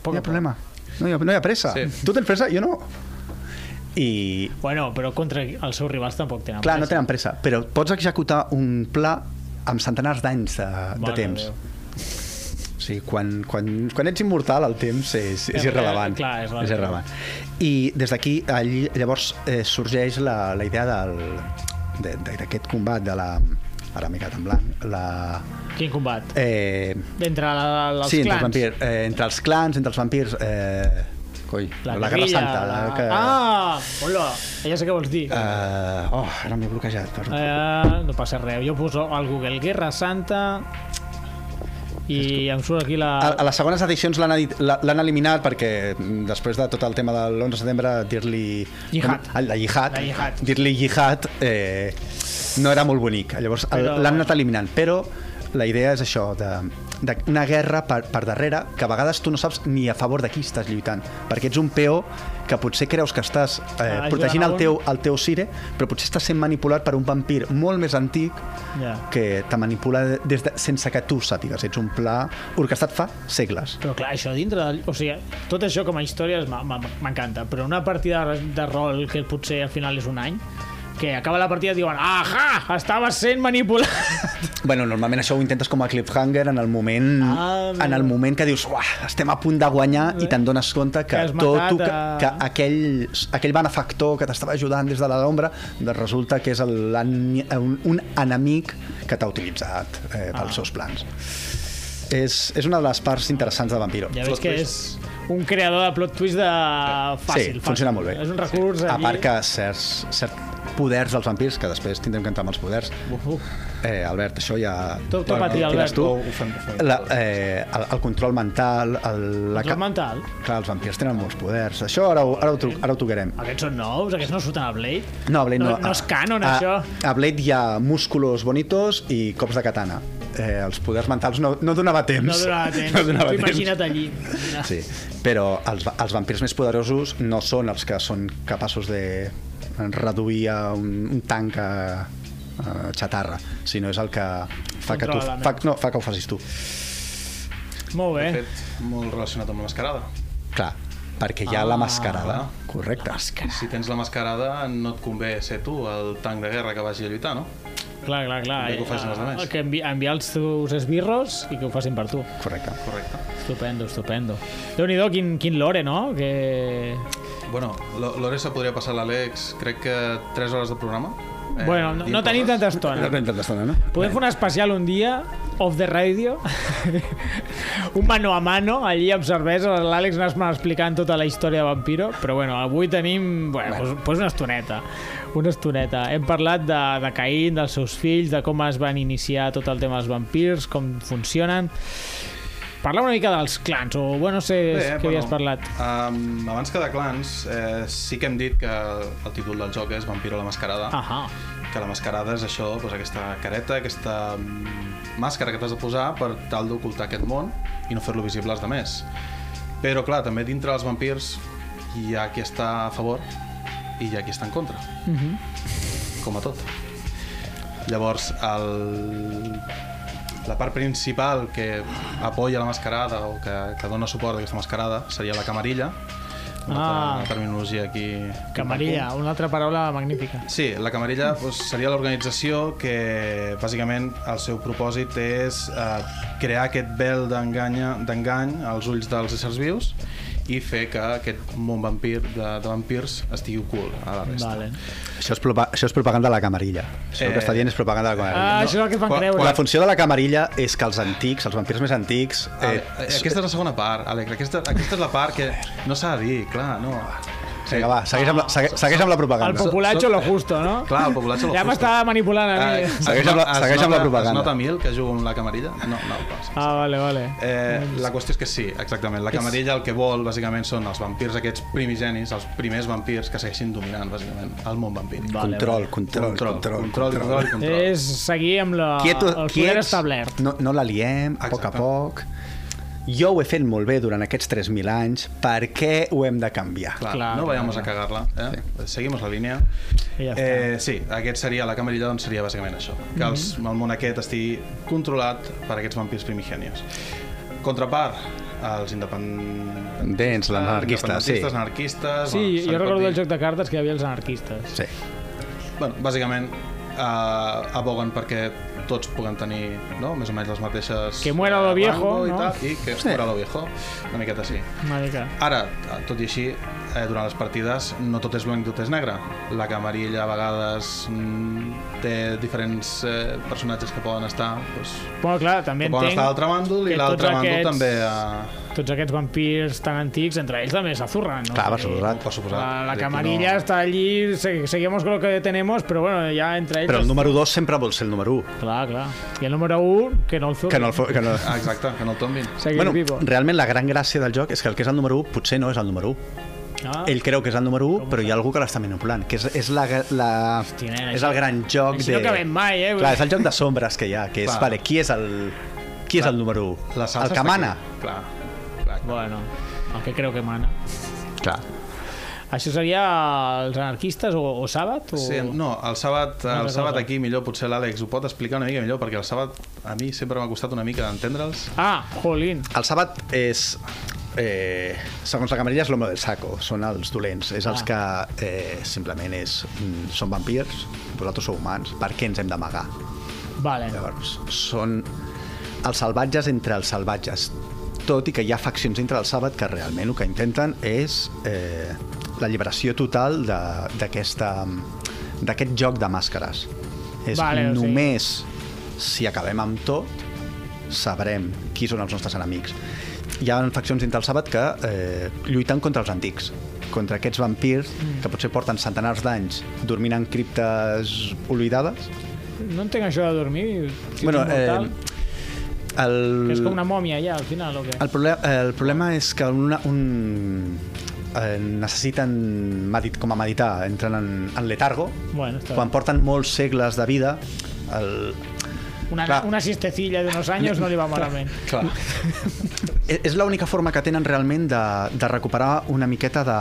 [SPEAKER 1] Poc
[SPEAKER 4] no
[SPEAKER 1] a poc.
[SPEAKER 4] hi ha problema. No hi ha, no hi ha pressa.
[SPEAKER 2] Sí.
[SPEAKER 4] Tu tens pressa? Jo no. I,
[SPEAKER 1] Bueno, però contra els seus rivals tampoc tenen
[SPEAKER 4] Clar, no
[SPEAKER 1] pressa.
[SPEAKER 4] tenen pressa, però pots executar un pla amb centenars d'anys de, de
[SPEAKER 1] Mare
[SPEAKER 4] temps.
[SPEAKER 1] de Déu.
[SPEAKER 4] O sigui, quan, quan, quan ets immortal el temps és, és
[SPEAKER 1] Eh,
[SPEAKER 4] irrelevant.
[SPEAKER 1] clar, és
[SPEAKER 4] és
[SPEAKER 1] relatiu.
[SPEAKER 4] irrelevant. I des d'aquí all- llavors eh, sorgeix la, la idea del- de- de- d'aquest combat de la... Ara m'he quedat en blanc. La,
[SPEAKER 1] Quin combat?
[SPEAKER 4] eh,
[SPEAKER 1] Entre la, la, els
[SPEAKER 4] sí, entre els,
[SPEAKER 1] clans.
[SPEAKER 4] vampirs, eh, entre els clans, entre els vampirs... Eh, coi, la, la Guerra
[SPEAKER 1] guerrilla,
[SPEAKER 4] Santa. La,
[SPEAKER 1] la-
[SPEAKER 4] que,
[SPEAKER 1] Ah, hola, ja sé què vols dir.
[SPEAKER 4] eh, oh, ara m'he bloquejat. perdó.
[SPEAKER 1] Eh, no passa res, jo poso al Google Guerra Santa i em surt aquí la...
[SPEAKER 4] A, a les segones edicions l'han edit- la- l'han eliminat perquè mm, després de tot el tema de l'11 de setembre dir-li...
[SPEAKER 1] Jihad.
[SPEAKER 4] Com- La jihad.
[SPEAKER 1] La jihad.
[SPEAKER 4] Dir-li jihad eh, no era molt bonic. Llavors el-
[SPEAKER 1] Però-
[SPEAKER 4] l'han anat eliminant. Però la idea és això, de d'una guerra per, per darrere que a vegades tu no saps ni a favor de qui estàs lluitant perquè ets un peó que potser creus que estàs eh,
[SPEAKER 1] Ajudant
[SPEAKER 4] protegint
[SPEAKER 1] a
[SPEAKER 4] el
[SPEAKER 1] un.
[SPEAKER 4] teu, el teu sire però potser estàs sent manipulat per un vampir molt més antic
[SPEAKER 1] Ja.
[SPEAKER 4] que te manipula des de, sense que tu sàpigues. Ets un pla orquestat fa segles.
[SPEAKER 1] Però clar, això dintre del... O sigui, tot això com a història és- m'a- m'a- m'encanta, però una partida de, de rol que potser al final és un any, que acaba la partida i diuen Ahà! Estava sent manipulat!
[SPEAKER 4] Bueno, normalment això ho intentes com a cliffhanger en el moment,
[SPEAKER 1] Ah,
[SPEAKER 4] en el moment que dius uah, estem a punt de guanyar i te'n dones compte que,
[SPEAKER 1] Que has
[SPEAKER 4] tot
[SPEAKER 1] matat eh,
[SPEAKER 4] ho que,
[SPEAKER 1] a-
[SPEAKER 4] que aquell, aquell benefactor que t'estava ajudant des de la l'ombra doncs resulta que és el, l'en- un, un enemic que t'ha utilitzat eh, pels
[SPEAKER 1] Ah.
[SPEAKER 4] seus plans. És, és una de les parts interessants de Vampiro.
[SPEAKER 1] Ja
[SPEAKER 2] Plot
[SPEAKER 1] veig que
[SPEAKER 2] twist.
[SPEAKER 1] és un creador de plot twist de... fàcil,
[SPEAKER 4] sí, funciona
[SPEAKER 1] fàcil.
[SPEAKER 4] molt bé.
[SPEAKER 1] És un recurs
[SPEAKER 4] A
[SPEAKER 1] allí...
[SPEAKER 4] part que certs, cert, poders dels vampirs, que després tindrem que entrar amb els poders.
[SPEAKER 1] Uh, uh.
[SPEAKER 4] Eh, Albert, això ja...
[SPEAKER 1] Tot- tot per ti,
[SPEAKER 4] tires
[SPEAKER 1] Albert.
[SPEAKER 4] Tu.
[SPEAKER 2] Ho- ho fem- ho fem.
[SPEAKER 4] La, eh, el, el control mental... El, la
[SPEAKER 1] Control mental?
[SPEAKER 4] Clar, els vampirs tenen molts poders. Això ara ho, ara ho, tru- ara ho tocarem.
[SPEAKER 1] Aquests són nous, aquests no surten a Blade.
[SPEAKER 4] No, a Blade no. Ah.
[SPEAKER 1] No, no és canon,
[SPEAKER 4] a,
[SPEAKER 1] això.
[SPEAKER 4] A Blade hi ha músculos bonitos i cops de katana. Eh, els poders mentals no, no donava temps.
[SPEAKER 1] No donava temps.
[SPEAKER 4] No donava
[SPEAKER 1] Tu
[SPEAKER 4] temps.
[SPEAKER 1] Imagina't allí. Imagina't.
[SPEAKER 4] Sí, però els, va- els vampirs més poderosos no són els que són capaços de reduir a un, un tanc a, a xatarra, sinó és el que fa que, tu,
[SPEAKER 1] Controla la
[SPEAKER 4] fa, no, fa que ho facis tu.
[SPEAKER 1] Molt bé.
[SPEAKER 2] Fet molt relacionat amb la mascarada.
[SPEAKER 4] Clar, perquè hi ha
[SPEAKER 1] Ah,
[SPEAKER 4] la mascarada. Correcte.
[SPEAKER 2] Si tens la mascarada, no et convé ser tu el tanc de guerra que vagi a lluitar, no?
[SPEAKER 1] Clar, clar, clar. Eh,
[SPEAKER 2] Bé que ho facin els altres.
[SPEAKER 1] Que envi enviar els teus esbirros i que ho facin per tu.
[SPEAKER 4] Correcte.
[SPEAKER 2] Correcte.
[SPEAKER 1] Estupendo, estupendo. Déu-n'hi-do, quin, quin lore, no? Que...
[SPEAKER 2] Bueno, lo- l'hora se podria passar a l'Àlex, crec que 3 hores de programa.
[SPEAKER 1] Bueno, no, no
[SPEAKER 2] Eh, i
[SPEAKER 1] tenim
[SPEAKER 2] coses.
[SPEAKER 1] tanta
[SPEAKER 4] No
[SPEAKER 1] estona.
[SPEAKER 4] tenim tanta estona, no?
[SPEAKER 1] Podem fer un especial un dia, off the radio, un mano a mano, allí amb cervesa, l'Àlex anar-me explicant tota la història de Vampiro, però bueno, avui tenim, bueno, bueno. Pues, pues una estoneta, una estoneta. Hem parlat de, de Caín, dels seus fills, de com es van iniciar tot el tema dels vampirs, com funcionen. Parla una mica dels clans, o bueno, no sé Bé, què havies parlat.
[SPEAKER 2] Um, abans que de clans, eh, sí que hem dit que el títol del joc és Vampiro la Mascarada,
[SPEAKER 1] Ahà,
[SPEAKER 2] que la mascarada és això, doncs, aquesta careta, aquesta mm, màscara que t'has de posar per tal d'ocultar aquest món i no fer-lo visible als demés. Però, clar, també dintre dels vampirs hi ha qui està a favor i hi ha qui està en contra. Mm
[SPEAKER 1] Mhm.
[SPEAKER 2] -hmm. Com a tot. Llavors, el... la part principal que apoya la mascarada o que, que dona suport a aquesta mascarada seria la camarilla, una
[SPEAKER 1] Ah.
[SPEAKER 2] altra una terminologia aquí...
[SPEAKER 1] Camarilla, una altra paraula magnífica.
[SPEAKER 2] Sí, la Camarilla doncs, seria l'organització que bàsicament el seu propòsit és eh, crear aquest vel d'enganya- d'engany als ulls dels éssers vius i fer que aquest món vampir de, de vampirs estigui ocult a la resta.
[SPEAKER 1] Vale.
[SPEAKER 4] Això és, propa- això és propaganda de la camarilla. Això
[SPEAKER 2] Eh.
[SPEAKER 4] que està dient és propaganda de la camarilla.
[SPEAKER 1] Ah, això és el que fan
[SPEAKER 2] quan-
[SPEAKER 1] creure.
[SPEAKER 4] La funció de la camarilla és que els antics, els vampirs més antics...
[SPEAKER 2] Eh, aquesta és la segona part, Àlex. Aquesta, aquesta és la part que no s'ha de dir, clar, no.
[SPEAKER 4] Vinga, va, segueix amb la, segue, segueix amb la
[SPEAKER 1] El
[SPEAKER 4] propaganda.
[SPEAKER 1] populatxo
[SPEAKER 2] Sóc-
[SPEAKER 1] lo justo, no?
[SPEAKER 2] Clar, el poblatge
[SPEAKER 1] Ja m'està manipulant a mi.
[SPEAKER 2] Eh,
[SPEAKER 4] Segueix amb la-
[SPEAKER 2] es
[SPEAKER 4] segueix amb la
[SPEAKER 2] nota-
[SPEAKER 4] propaganda.
[SPEAKER 2] Es nota a mi el que jugo amb la camarilla? No, no, passa.
[SPEAKER 1] Ah, vale, vale.
[SPEAKER 2] Eh, la qüestió és que sí, exactament. La camarilla el que vol, bàsicament, són els vampirs aquests primigenis, els primers vampirs que segueixin dominant, bàsicament, el món vampíric.
[SPEAKER 4] Control, control,
[SPEAKER 2] Control,
[SPEAKER 4] control,
[SPEAKER 2] control, control, i control.
[SPEAKER 1] És seguir amb la, Ah, el poder establert.
[SPEAKER 4] No, no la liem, a poc a
[SPEAKER 2] Exacte.
[SPEAKER 4] poc. Jo ho he fet molt bé durant aquests 3.000 anys, per què ho hem de canviar?
[SPEAKER 2] Clar,
[SPEAKER 1] Clar,
[SPEAKER 2] no
[SPEAKER 1] clar,
[SPEAKER 2] vayamos a cagar-la. Eh? Seguimos la línia.
[SPEAKER 1] I ja està. Mhm.
[SPEAKER 2] eh, sí, aquest seria, la camarilla doncs, seria bàsicament això, que els, el món aquest estigui controlat per aquests vampirs primigenios. Contrapart, els independent...
[SPEAKER 4] Dents,
[SPEAKER 1] Ah,
[SPEAKER 4] l'anarquista, sí.
[SPEAKER 2] independentistes, anarquistes...
[SPEAKER 1] Sí,
[SPEAKER 2] bueno, se li
[SPEAKER 1] jo
[SPEAKER 2] pot
[SPEAKER 1] recordo
[SPEAKER 2] dir.
[SPEAKER 1] el joc de cartes que hi havia els anarquistes.
[SPEAKER 4] Sí.
[SPEAKER 2] bueno, bàsicament eh, aboguen perquè tots puguen tenir no? més o menys les mateixes
[SPEAKER 1] Que muera lo
[SPEAKER 2] eh,
[SPEAKER 1] viejo,
[SPEAKER 2] rango i,
[SPEAKER 1] no?
[SPEAKER 2] tal, i que muera lo viejo una miqueta així
[SPEAKER 1] Una mica.
[SPEAKER 2] ara, eh, tot i així eh, durant les partides no tot és blanc, tot és negre la camarilla a vegades mm, té diferents eh, personatges que poden estar doncs,
[SPEAKER 1] Bueno, clar, també
[SPEAKER 2] que poden estar a
[SPEAKER 1] entenc
[SPEAKER 2] l'altre bàndol
[SPEAKER 1] que
[SPEAKER 2] i l'altre
[SPEAKER 1] tots
[SPEAKER 2] bàndol
[SPEAKER 1] aquests-
[SPEAKER 2] també eh, a...
[SPEAKER 1] tots aquests vampirs tan antics, entre ells també s'azurren, no?
[SPEAKER 4] Clar, va
[SPEAKER 1] Sí.
[SPEAKER 4] suposar.
[SPEAKER 2] per suposar
[SPEAKER 1] La, la
[SPEAKER 2] És a dir,
[SPEAKER 1] camarilla està allí, se- seguimos con lo que tenemos, però bueno, ja entre ells...
[SPEAKER 4] Però el número 2 sempre vol ser el número 1.
[SPEAKER 1] Clar, clar. I el número 1, que no el
[SPEAKER 4] Que
[SPEAKER 1] zurren.
[SPEAKER 4] no el, fo- que no...
[SPEAKER 2] Ah, exacte, que no el tombin
[SPEAKER 1] Seguir
[SPEAKER 4] Bueno,
[SPEAKER 1] vivo.
[SPEAKER 4] realment la gran gràcia del joc és que el que és el número 1 potser no és el número 1.
[SPEAKER 1] Ah,
[SPEAKER 4] Ell creu que és el número 1, però hi ha algú que l'està manipulant, que és, és, la, la,
[SPEAKER 1] Hòstia, nen,
[SPEAKER 4] és
[SPEAKER 1] això-
[SPEAKER 4] el gran joc
[SPEAKER 1] així
[SPEAKER 4] de...
[SPEAKER 1] no acabem mai, eh?
[SPEAKER 4] Clar, és el joc de sombres que hi ha, que és,
[SPEAKER 2] Clar.
[SPEAKER 4] vale, qui és el, qui és el número 1?
[SPEAKER 2] la salsa
[SPEAKER 4] el
[SPEAKER 2] està
[SPEAKER 4] que mana.
[SPEAKER 2] aquí. clar, clar, clar.
[SPEAKER 1] Bueno, el que creu que mana.
[SPEAKER 4] Clar.
[SPEAKER 1] Això seria els anarquistes o, o Sàbat? O...
[SPEAKER 2] Sí, no, el sàbat,
[SPEAKER 1] Una
[SPEAKER 2] el
[SPEAKER 1] altra
[SPEAKER 2] sàbat
[SPEAKER 1] cosa.
[SPEAKER 2] aquí millor potser l'Àlex ho pot explicar una mica millor perquè el sàbat a mi sempre m'ha costat una mica d'entendre'ls
[SPEAKER 1] Ah, jolín.
[SPEAKER 4] El sàbat és... Eh, segons la camarilla és l'home del saco, són els dolents, és els que eh, simplement és, mm, són vampirs, vosaltres sou humans, per què ens hem d'amagar?
[SPEAKER 1] Vale.
[SPEAKER 4] Llavors, són els salvatges entre els salvatges, tot i que hi ha faccions dintre del sàbat que realment el que intenten és eh, la lliberació total de- d'aquesta- d'aquest joc de màscares. És
[SPEAKER 1] Vale,
[SPEAKER 4] vale,
[SPEAKER 1] o sigui-
[SPEAKER 4] només si acabem amb tot sabrem qui són els nostres enemics. Hi ha faccions dintre del sàbat que eh, lluiten contra els antics contra aquests vampirs
[SPEAKER 1] Mm.
[SPEAKER 4] que potser porten centenars d'anys dormint en criptes oblidades.
[SPEAKER 1] No entenc això de dormir. Si
[SPEAKER 4] Bueno, eh,
[SPEAKER 1] ets immortal,
[SPEAKER 4] el...
[SPEAKER 1] que és com una mòmia ja, al final, o què?
[SPEAKER 4] El problema, el problema és que una, un, eh, necessiten medit, com a meditar, entren en, en letargo.
[SPEAKER 1] Bueno, està
[SPEAKER 4] Quan
[SPEAKER 1] bé.
[SPEAKER 4] porten molts segles de vida, el,
[SPEAKER 1] Una,
[SPEAKER 4] clar.
[SPEAKER 1] una siestecilla d'unos anys no li va malament.
[SPEAKER 4] Clar. E-, és l'única forma que tenen realment de, de recuperar una miqueta de,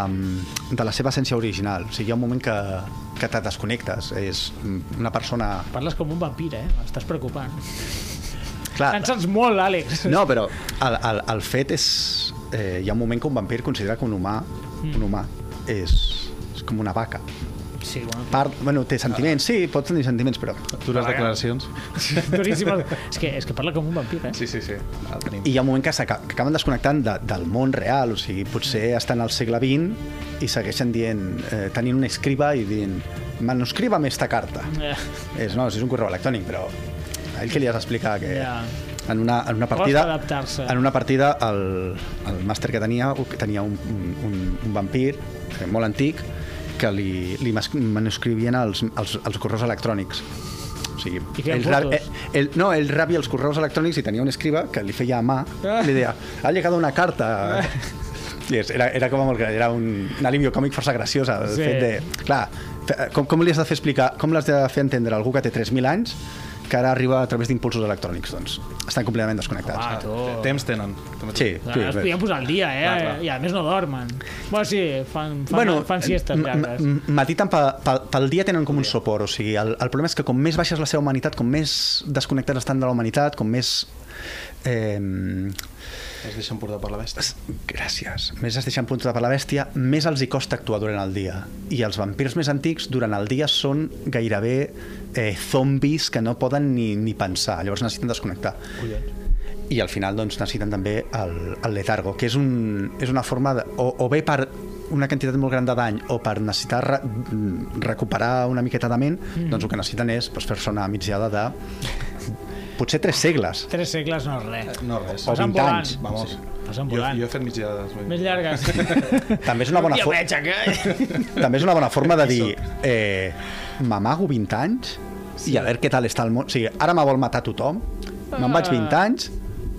[SPEAKER 4] de la seva essència original. O sigui, hi ha un moment que, que te desconnectes. És una persona...
[SPEAKER 1] Parles com un vampir, eh? M'estàs preocupant.
[SPEAKER 4] Clar,
[SPEAKER 1] Cansats molt, Àlex.
[SPEAKER 4] no, però el, el, el fet és... Eh, hi ha un moment que un vampir considera que un humà, un humà és, és com una vaca.
[SPEAKER 1] Sí, bueno.
[SPEAKER 4] Part, bueno, té sentiments, sí, pot tenir sentiments, però...
[SPEAKER 2] Dures declaracions.
[SPEAKER 1] Duríssim. És que, és que parla com un vampir, eh?
[SPEAKER 2] Sí, sí, sí. El tenim.
[SPEAKER 4] I hi ha un moment que, s'aca- que acaben desconnectant de, del món real, o sigui, potser estan al segle XX i segueixen dient, eh, tenint una escriba i dient, manuscriba'm esta carta.
[SPEAKER 1] Eh,
[SPEAKER 4] És, no, és un correu electrònic, però a ell que li has d'explicar que
[SPEAKER 1] Ja.
[SPEAKER 4] en, una, en una
[SPEAKER 1] Costa
[SPEAKER 4] partida
[SPEAKER 1] adaptar-se.
[SPEAKER 4] en una partida el, el màster que tenia que tenia un, un, un- un vampir eh, molt antic que li, li mas- manuscrivien els, els, els correus electrònics o sigui,
[SPEAKER 1] I feien
[SPEAKER 4] ell, rab, eh,
[SPEAKER 1] fotos.
[SPEAKER 4] ell, no, ell rabia els correus electrònics i tenia un escriba que li feia a mà
[SPEAKER 1] Ah.
[SPEAKER 4] li deia, ha llegat una carta I és, era, era com molt, gran, era un, un alivio còmic força graciosa el
[SPEAKER 1] Sí.
[SPEAKER 4] sí. fet de, clar, fe- eh, com, com li has de fer explicar com l'has de fer entendre a algú que té 3.000 anys que ara arriba a través d'impulsos electrònics doncs estan completament desconnectats
[SPEAKER 1] Ah, tu.
[SPEAKER 2] eh, Temps tenen. També
[SPEAKER 4] Sí,
[SPEAKER 1] Clar,
[SPEAKER 4] sí,
[SPEAKER 1] es
[SPEAKER 4] bé.
[SPEAKER 1] podien posar al dia, eh?
[SPEAKER 2] Clar, clar.
[SPEAKER 1] I a més no dormen. Bueno, sí, fan, fan, bueno, fan siestes
[SPEAKER 4] eh, m- m-
[SPEAKER 1] llargues.
[SPEAKER 4] m- Matiten pel, pel, pel dia tenen com un sopor, o sigui, el, el problema és que com més baixa és la seva humanitat, com més desconnectats estan de la humanitat, com més... Eh,
[SPEAKER 2] Es deixen portar per la bèstia.
[SPEAKER 4] es- gràcies. Més es deixen punta per la bèstia, més els hi costa actuar durant el dia. I els vampirs més antics durant el dia són gairebé eh, zombis que no poden ni, ni pensar, llavors necessiten desconnectar. i al final doncs, necessiten també el, el letargo, que és, un, és una forma, de, o, o bé per una quantitat molt gran de dany o per necessitar re, mm, recuperar una miqueta de ment, mm. doncs el que necessiten és doncs, fer-se una mitjada de potser tres segles.
[SPEAKER 1] Tres segles no és res.
[SPEAKER 2] No, res.
[SPEAKER 4] O
[SPEAKER 1] Passen
[SPEAKER 4] 20
[SPEAKER 1] volant.
[SPEAKER 4] anys.
[SPEAKER 2] Vamos.
[SPEAKER 1] Passen
[SPEAKER 2] jo,
[SPEAKER 1] volant.
[SPEAKER 2] jo he fet migdiades. vull dir.
[SPEAKER 1] Més llargues.
[SPEAKER 4] També és una bona,
[SPEAKER 1] Ja
[SPEAKER 4] fo
[SPEAKER 1] veig, eh? que...
[SPEAKER 4] també és una bona forma de dir eh, m'amago 20 anys i a veure què tal està el món. O sigui, ara me vol matar tothom, me'n vaig 20 anys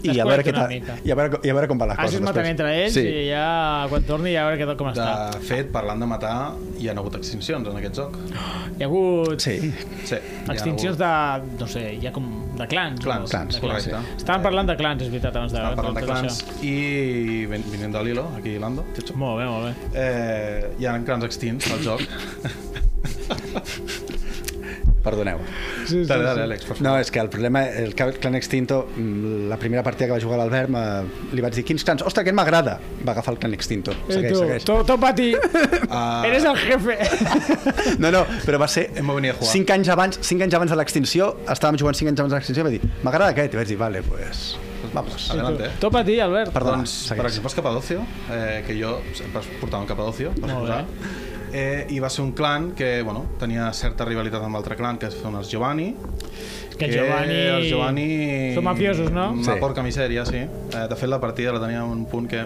[SPEAKER 4] i
[SPEAKER 1] Desconnecta
[SPEAKER 4] a, veure què
[SPEAKER 1] Ah. una
[SPEAKER 4] tal,
[SPEAKER 1] mica.
[SPEAKER 4] i, a veure, i a veure com van les
[SPEAKER 1] Així
[SPEAKER 4] coses
[SPEAKER 1] es maten
[SPEAKER 4] després.
[SPEAKER 1] entre ells sí.
[SPEAKER 4] sí.
[SPEAKER 1] i ja quan torni ja a veure què tal com està.
[SPEAKER 2] De fet, parlant de matar, hi ha hagut extincions en aquest joc.
[SPEAKER 1] Hi ha hagut sí.
[SPEAKER 4] Sí.
[SPEAKER 2] Sí.
[SPEAKER 1] extincions
[SPEAKER 2] hi ha hagut...
[SPEAKER 1] de, no sé, hi ha com de clans.
[SPEAKER 2] Clans,
[SPEAKER 1] no?
[SPEAKER 4] clans,
[SPEAKER 1] de
[SPEAKER 2] correcte.
[SPEAKER 1] Estàvem parlant de clans, és veritat, abans de,
[SPEAKER 2] Estàvem parlant de
[SPEAKER 1] tot
[SPEAKER 2] clans
[SPEAKER 1] això.
[SPEAKER 2] i ven- venint de Lilo, aquí Lando, xutxo.
[SPEAKER 1] Molt bé, molt bé.
[SPEAKER 2] Eh, hi ha clans extints al joc.
[SPEAKER 4] Perdoneu.
[SPEAKER 1] Sí,
[SPEAKER 2] Dale, dale, Àlex, per favor.
[SPEAKER 4] No, és que el problema, el Ca- Clan Extinto, mm, la primera partida que va jugar l'Albert, me- li vaig dir, quins clans? Ostres, aquest m'agrada! Va agafar el Clan Extinto.
[SPEAKER 2] Eh,
[SPEAKER 4] Segueix, segueix.
[SPEAKER 1] Eh, Tot, tot per ti.
[SPEAKER 2] Ah.
[SPEAKER 1] Eres el jefe.
[SPEAKER 4] No, no, però va ser...
[SPEAKER 2] Hemos venido a jugar.
[SPEAKER 4] 5 anys abans, 5 anys abans de l'extinció, estàvem jugant 5 anys abans de l'extinció, i va dir, m'agrada aquest, i vaig dir, vale, pues... Vamos.
[SPEAKER 2] Adelante.
[SPEAKER 1] tot per ti, Albert.
[SPEAKER 4] Perdona,
[SPEAKER 2] doncs, per
[SPEAKER 4] segueix.
[SPEAKER 2] exemple, els Capadocio, eh, que jo sempre portava un Capadocio, per
[SPEAKER 1] Molt
[SPEAKER 2] suposar, eh, i va ser un clan que bueno, tenia certa rivalitat amb l'altre clan, que són els Giovanni,
[SPEAKER 1] Que Giovanni...
[SPEAKER 2] els Giovanni...
[SPEAKER 1] Són mafiosos, no?
[SPEAKER 2] Una
[SPEAKER 4] Sí.
[SPEAKER 2] porca misèria, sí. Eh, de fet, la partida la tenia en un punt que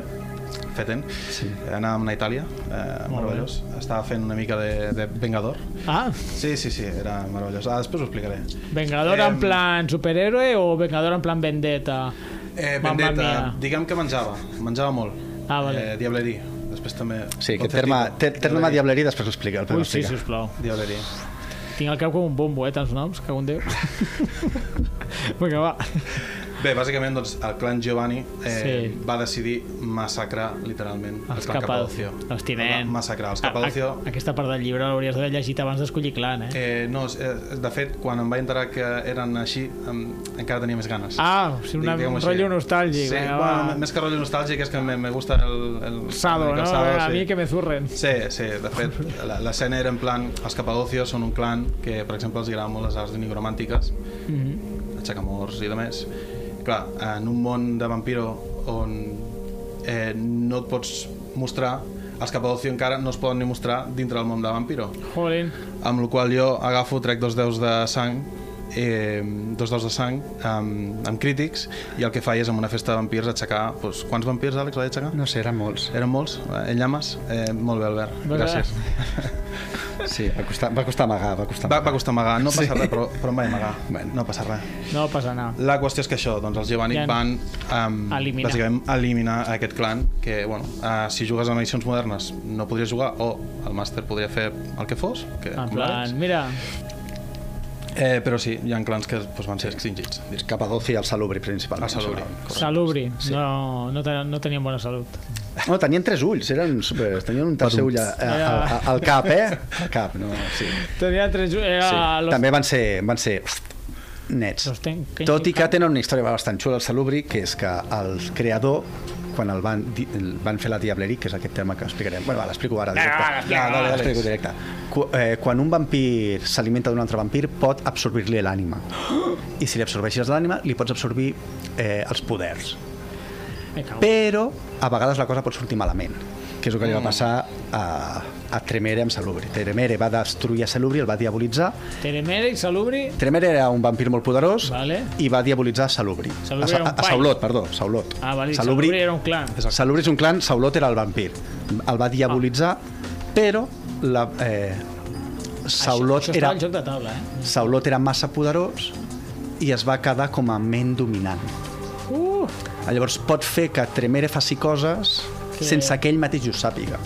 [SPEAKER 2] feten. Sí. Anàvem a Itàlia, eh, meravellós. Estava fent una mica de, de Vengador.
[SPEAKER 1] Ah,
[SPEAKER 2] Sí, sí, sí, era meravellós. Ah, després ho explicaré.
[SPEAKER 1] Vengador
[SPEAKER 2] Em,
[SPEAKER 1] en plan superhéroe o Vengador en plan vendetta?
[SPEAKER 2] Eh,
[SPEAKER 1] Mamma
[SPEAKER 2] Vendetta,
[SPEAKER 1] mia.
[SPEAKER 2] diguem que menjava, menjava molt.
[SPEAKER 1] Ah, vale.
[SPEAKER 2] Eh, Diablerí, després també...
[SPEAKER 4] Sí, aquest
[SPEAKER 2] Concertito.
[SPEAKER 4] terme, ter, terme diablerí després ho explica. El
[SPEAKER 1] Ui,
[SPEAKER 4] primer
[SPEAKER 1] sí,
[SPEAKER 4] explica.
[SPEAKER 1] sisplau.
[SPEAKER 2] Diablerí.
[SPEAKER 1] Tinc al cap com un bombo, eh, tants noms, que un déu. Vinga, va.
[SPEAKER 2] Bé, bàsicament, doncs, el clan Giovanni eh,
[SPEAKER 1] Sí.
[SPEAKER 2] sí. va decidir massacrar, literalment, el
[SPEAKER 1] Els
[SPEAKER 2] clan
[SPEAKER 1] Capadó-
[SPEAKER 2] Capadocio.
[SPEAKER 1] Hosti, nen.
[SPEAKER 2] Va Massacrar els
[SPEAKER 1] A- a-
[SPEAKER 2] Capadocio.
[SPEAKER 1] Ah, Aquesta part del llibre l'hauries d'haver llegit abans d'escollir clan, eh?
[SPEAKER 2] Eh, no, és- eh, de fet, quan em vaig enterar que eren així, em, encara tenia més ganes.
[SPEAKER 1] Ah, o sigui, una,
[SPEAKER 2] Diguem-ho
[SPEAKER 1] un
[SPEAKER 2] així.
[SPEAKER 1] rotllo nostàlgic.
[SPEAKER 2] Sí,
[SPEAKER 1] Vinga, va.
[SPEAKER 2] bueno, més que rotllo nostàlgic és que me, me gusta el... el
[SPEAKER 1] Sado,
[SPEAKER 2] el
[SPEAKER 1] no?
[SPEAKER 2] Sado,
[SPEAKER 1] a mi que me zurren.
[SPEAKER 2] Sí, sí, de fet, la- l'escena era en plan... Els Capadocios són un clan que, per exemple, els agraden molt les arts nigromàntiques,
[SPEAKER 1] Mhm.
[SPEAKER 2] aixecamors i de més. Clar, en un món de vampiro on eh, no et pots mostrar, els Capadocio encara no es poden ni mostrar dintre del món de vampiro.
[SPEAKER 1] Jolín.
[SPEAKER 2] Amb la qual cosa jo agafo, trec dos deus de sang eh, Dos dos de sang amb, amb crítics i el que faia és amb una festa de vampirs aixecar... Doncs, quants vampirs, Àlex, va aixecar?
[SPEAKER 4] No sé, eren molts.
[SPEAKER 2] Eren molts? Eh, En llames? Eh, molt bé, Albert.
[SPEAKER 1] Doncs,
[SPEAKER 2] Gràcies.
[SPEAKER 1] eh?
[SPEAKER 4] Sí, va costar, va costar amagar, va costar
[SPEAKER 2] Va,
[SPEAKER 4] amagar.
[SPEAKER 2] va costar amagar, no passa sí. res, però, però em vaig amagar.
[SPEAKER 4] Bueno.
[SPEAKER 2] No passa res.
[SPEAKER 1] No passa nada.
[SPEAKER 2] La qüestió és que això, doncs els Giovanni
[SPEAKER 1] Ja.
[SPEAKER 2] ja. van um,
[SPEAKER 1] Eliminar.
[SPEAKER 2] bàsicament eliminar aquest clan que, bueno, uh, si jugues a edicions modernes no podries jugar o el màster podria fer el que fos, que
[SPEAKER 1] En
[SPEAKER 2] com l'Àlex.
[SPEAKER 1] plan, mira,
[SPEAKER 2] Eh, però sí, hi ha clans que doncs, van ser extingits. directament.
[SPEAKER 4] Capadoci i el Salubri, principalment.
[SPEAKER 2] El Salubri,
[SPEAKER 4] segurament.
[SPEAKER 1] salubri. No, no, ten no tenien bona salut.
[SPEAKER 4] No, tenien tres ulls, eren super... Tenien un tercer ull a- a- a- al cap, eh? Al cap, no, sí.
[SPEAKER 1] Tenien tres... Era
[SPEAKER 4] sí.
[SPEAKER 1] los...
[SPEAKER 4] També van ser, van ser host, nets.
[SPEAKER 1] Los ten- ten-
[SPEAKER 4] Tot i que tenen una història bastant xula, el Salubri, que és que el creador, quan el van, di- el van fer la Diablerie, que és aquest tema que explicarem... Bueno, va, l'explico ara. Directe.
[SPEAKER 2] va, dale, dale.
[SPEAKER 4] L'explico directe. Qu eh, quan un vampir s'alimenta d'un altre vampir, pot absorbir-li l'ànima. I si li absorbeixes l'ànima, li pots absorbir eh, els poders.
[SPEAKER 1] Me cago.
[SPEAKER 4] Però a vegades la cosa pot sortir malament que és el que li va passar a, a Tremere amb Salubri. Tremere va destruir a Salubri, el va diabolitzar,
[SPEAKER 1] Telemere i salubri...
[SPEAKER 4] Tremere era un vampir molt poderós
[SPEAKER 1] Vale.
[SPEAKER 4] i va diabolitzar Salubri.
[SPEAKER 1] Salubri
[SPEAKER 4] a,
[SPEAKER 1] era un
[SPEAKER 4] a, a
[SPEAKER 1] paio.
[SPEAKER 4] Saulot, perdó, Saulot.
[SPEAKER 1] Ah, valid. Salubri, era un clan.
[SPEAKER 4] Salubri és un clan, Saulot era el vampir. El va diabolitzar, però la, eh,
[SPEAKER 1] Ah.
[SPEAKER 4] Saulot,
[SPEAKER 1] això, això
[SPEAKER 4] era,
[SPEAKER 1] Això joc de taula, eh?
[SPEAKER 4] Saulot era massa poderós i es va quedar com a ment dominant.
[SPEAKER 1] Uh!
[SPEAKER 4] Llavors pot fer que Tremere faci coses
[SPEAKER 1] Que-
[SPEAKER 4] sense que ell mateix ho sàpiga.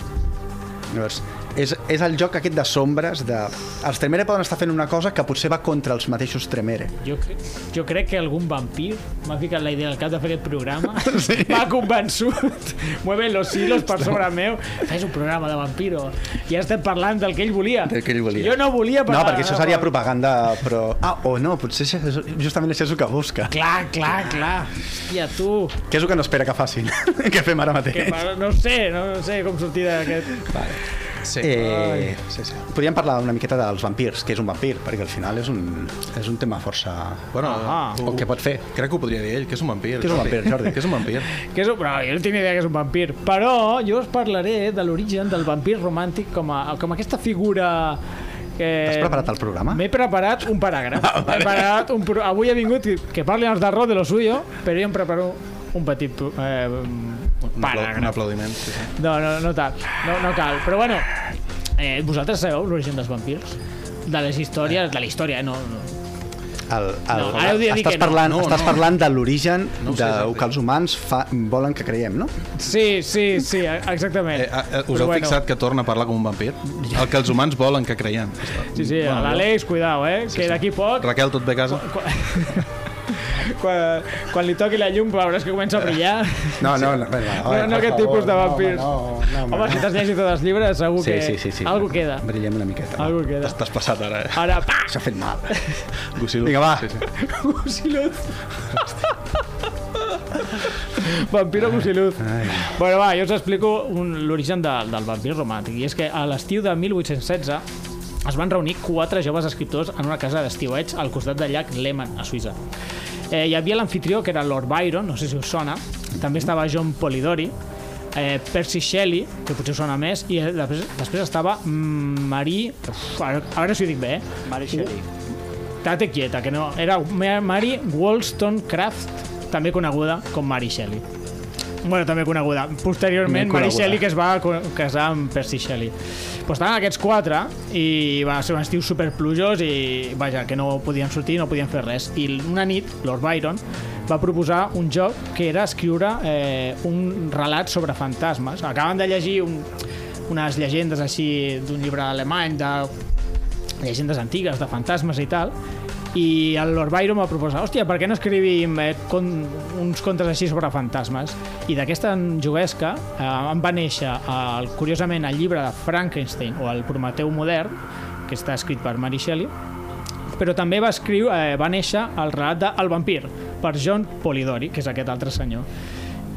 [SPEAKER 4] Llavors, és, és el joc aquest de sombres de... Els Tremere poden estar fent una cosa que potser va contra els mateixos Tremere.
[SPEAKER 1] Jo, cre- jo crec que algun vampir m'ha ficat la idea al cap de fer aquest programa sí. m'ha convençut mueve los hilos per sobre meu fes un programa de vampiro i ara estem parlant del que ell volia
[SPEAKER 4] Del que ell volia.
[SPEAKER 1] jo no volia
[SPEAKER 4] No,
[SPEAKER 1] parlar
[SPEAKER 4] perquè això seria
[SPEAKER 1] de-
[SPEAKER 4] propaganda, però... Ah, o no, potser això és, justament això és el que busca.
[SPEAKER 1] clar, clar, clar hòstia tu
[SPEAKER 4] Què és el que no espera que facin? que fem ara mateix?
[SPEAKER 1] que, pa- no sé, no, no sé com sortir d'aquest
[SPEAKER 2] Sí.
[SPEAKER 4] Eh,
[SPEAKER 2] sí, sí.
[SPEAKER 4] podríem parlar una miqueta dels vampirs, que és un vampir, perquè al final és un, és un tema força...
[SPEAKER 2] Bueno,
[SPEAKER 1] Ah.
[SPEAKER 2] ho-
[SPEAKER 4] O què pot fer?
[SPEAKER 2] Crec que ho podria dir ell, que és un vampir.
[SPEAKER 4] Uh. Que és un
[SPEAKER 2] Jordi.
[SPEAKER 4] vampir, Jordi.
[SPEAKER 2] Que és un vampir.
[SPEAKER 1] que és un, però jo no tinc ni idea que és un vampir però jo us parlaré de l'origen del vampir romàntic com, a, com aquesta figura eh,
[SPEAKER 4] T'has preparat el programa?
[SPEAKER 1] M'he preparat un paràgraf. Ah, vale. preparat un, pro- avui he vingut que, que parlin els de Rod de lo suyo, però jo em preparo un petit pro- eh,
[SPEAKER 2] Un, apla un
[SPEAKER 1] paràgraf.
[SPEAKER 2] aplaudiment. Sí, sí.
[SPEAKER 1] No, no, no, tal. No, no cal. Però bueno, eh, vosaltres sabeu l'origen dels vampirs? De les històries, de la història, eh? no, no.
[SPEAKER 4] El, el,
[SPEAKER 1] No, ara ho diré
[SPEAKER 4] estàs
[SPEAKER 1] que no.
[SPEAKER 4] parlant,
[SPEAKER 2] No,
[SPEAKER 4] estàs
[SPEAKER 2] no.
[SPEAKER 4] parlant de l'origen
[SPEAKER 2] No ho sé,
[SPEAKER 4] de
[SPEAKER 2] Jordi.
[SPEAKER 4] que els humans fa, volen que creiem, no?
[SPEAKER 1] Sí, sí, sí, e- exactament.
[SPEAKER 2] Eh, eh, eh, us
[SPEAKER 1] Però
[SPEAKER 2] heu fixat que torna a parlar com un vampir? El que els humans volen que creiem.
[SPEAKER 1] Sí, sí,
[SPEAKER 2] Bueno,
[SPEAKER 1] bueno, l'Àlex, cuidao, eh? Sí, que d'aquí poc...
[SPEAKER 2] Raquel, tot bé a casa?
[SPEAKER 1] Quan, quan, quan li toqui la llum veuràs que comença a brillar.
[SPEAKER 4] No, no, no, bueno,
[SPEAKER 1] No, no aquest tipus de vampirs.
[SPEAKER 4] No, home, no, no,
[SPEAKER 1] Home, si t'has llegit tots els llibres, segur
[SPEAKER 4] Sí,
[SPEAKER 1] que
[SPEAKER 4] sí, sí, sí.
[SPEAKER 1] algo queda.
[SPEAKER 4] Brillem una miqueta. va.
[SPEAKER 1] Algo queda.
[SPEAKER 2] T'has passat ara, eh?
[SPEAKER 1] Ara, pa!
[SPEAKER 4] S'ha fet mal.
[SPEAKER 2] Gusilo.
[SPEAKER 4] Vinga, va.
[SPEAKER 2] Sí, sí.
[SPEAKER 1] Gusiluz. Vampiro Gusiluz. Bueno, va, jo us explico un- l'origen del, del vampir romàntic. I és que a l'estiu de 1816 es van reunir quatre joves escriptors en una casa d'estiuets al costat del llac Lehmann, a Suïssa. Eh, hi havia l'anfitrió, que era Lord Byron, no sé si us sona. També estava John Polidori, eh, Percy Shelley, que potser us sona més, i eh, després, després estava mm, Marie... Uf, a, a veure si ho dic bé, eh? Marie Shelley. Tate quieta, que no. Era Ma- Mary Wollstonecraft, també coneguda com Mary Shelley. Bueno, també coneguda. Posteriorment,
[SPEAKER 4] Ben
[SPEAKER 1] Mary
[SPEAKER 4] coneguda.
[SPEAKER 1] Shelley, que es va co- casar amb Percy Shelley. Pues estaven aquests quatre i va ser un estiu superplujós i, vaja, que no podien sortir, no podien fer res. I l- una nit, Lord Byron va proposar un joc que era escriure eh, un relat sobre fantasmes. Acaben de llegir un, unes llegendes així d'un llibre alemany de llegendes antigues, de fantasmes i tal, i el Lord Byron va proposar, hòstia, per què no escrivim eh, con, uns contes així sobre fantasmes? I d'aquesta juguesca eh, en va néixer, eh, curiosament, el llibre de Frankenstein o el Prometeu modern, que està escrit per Mary Shelley, però també va escriure, eh, va néixer el relat de El vampir, per John Polidori, que és aquest altre senyor.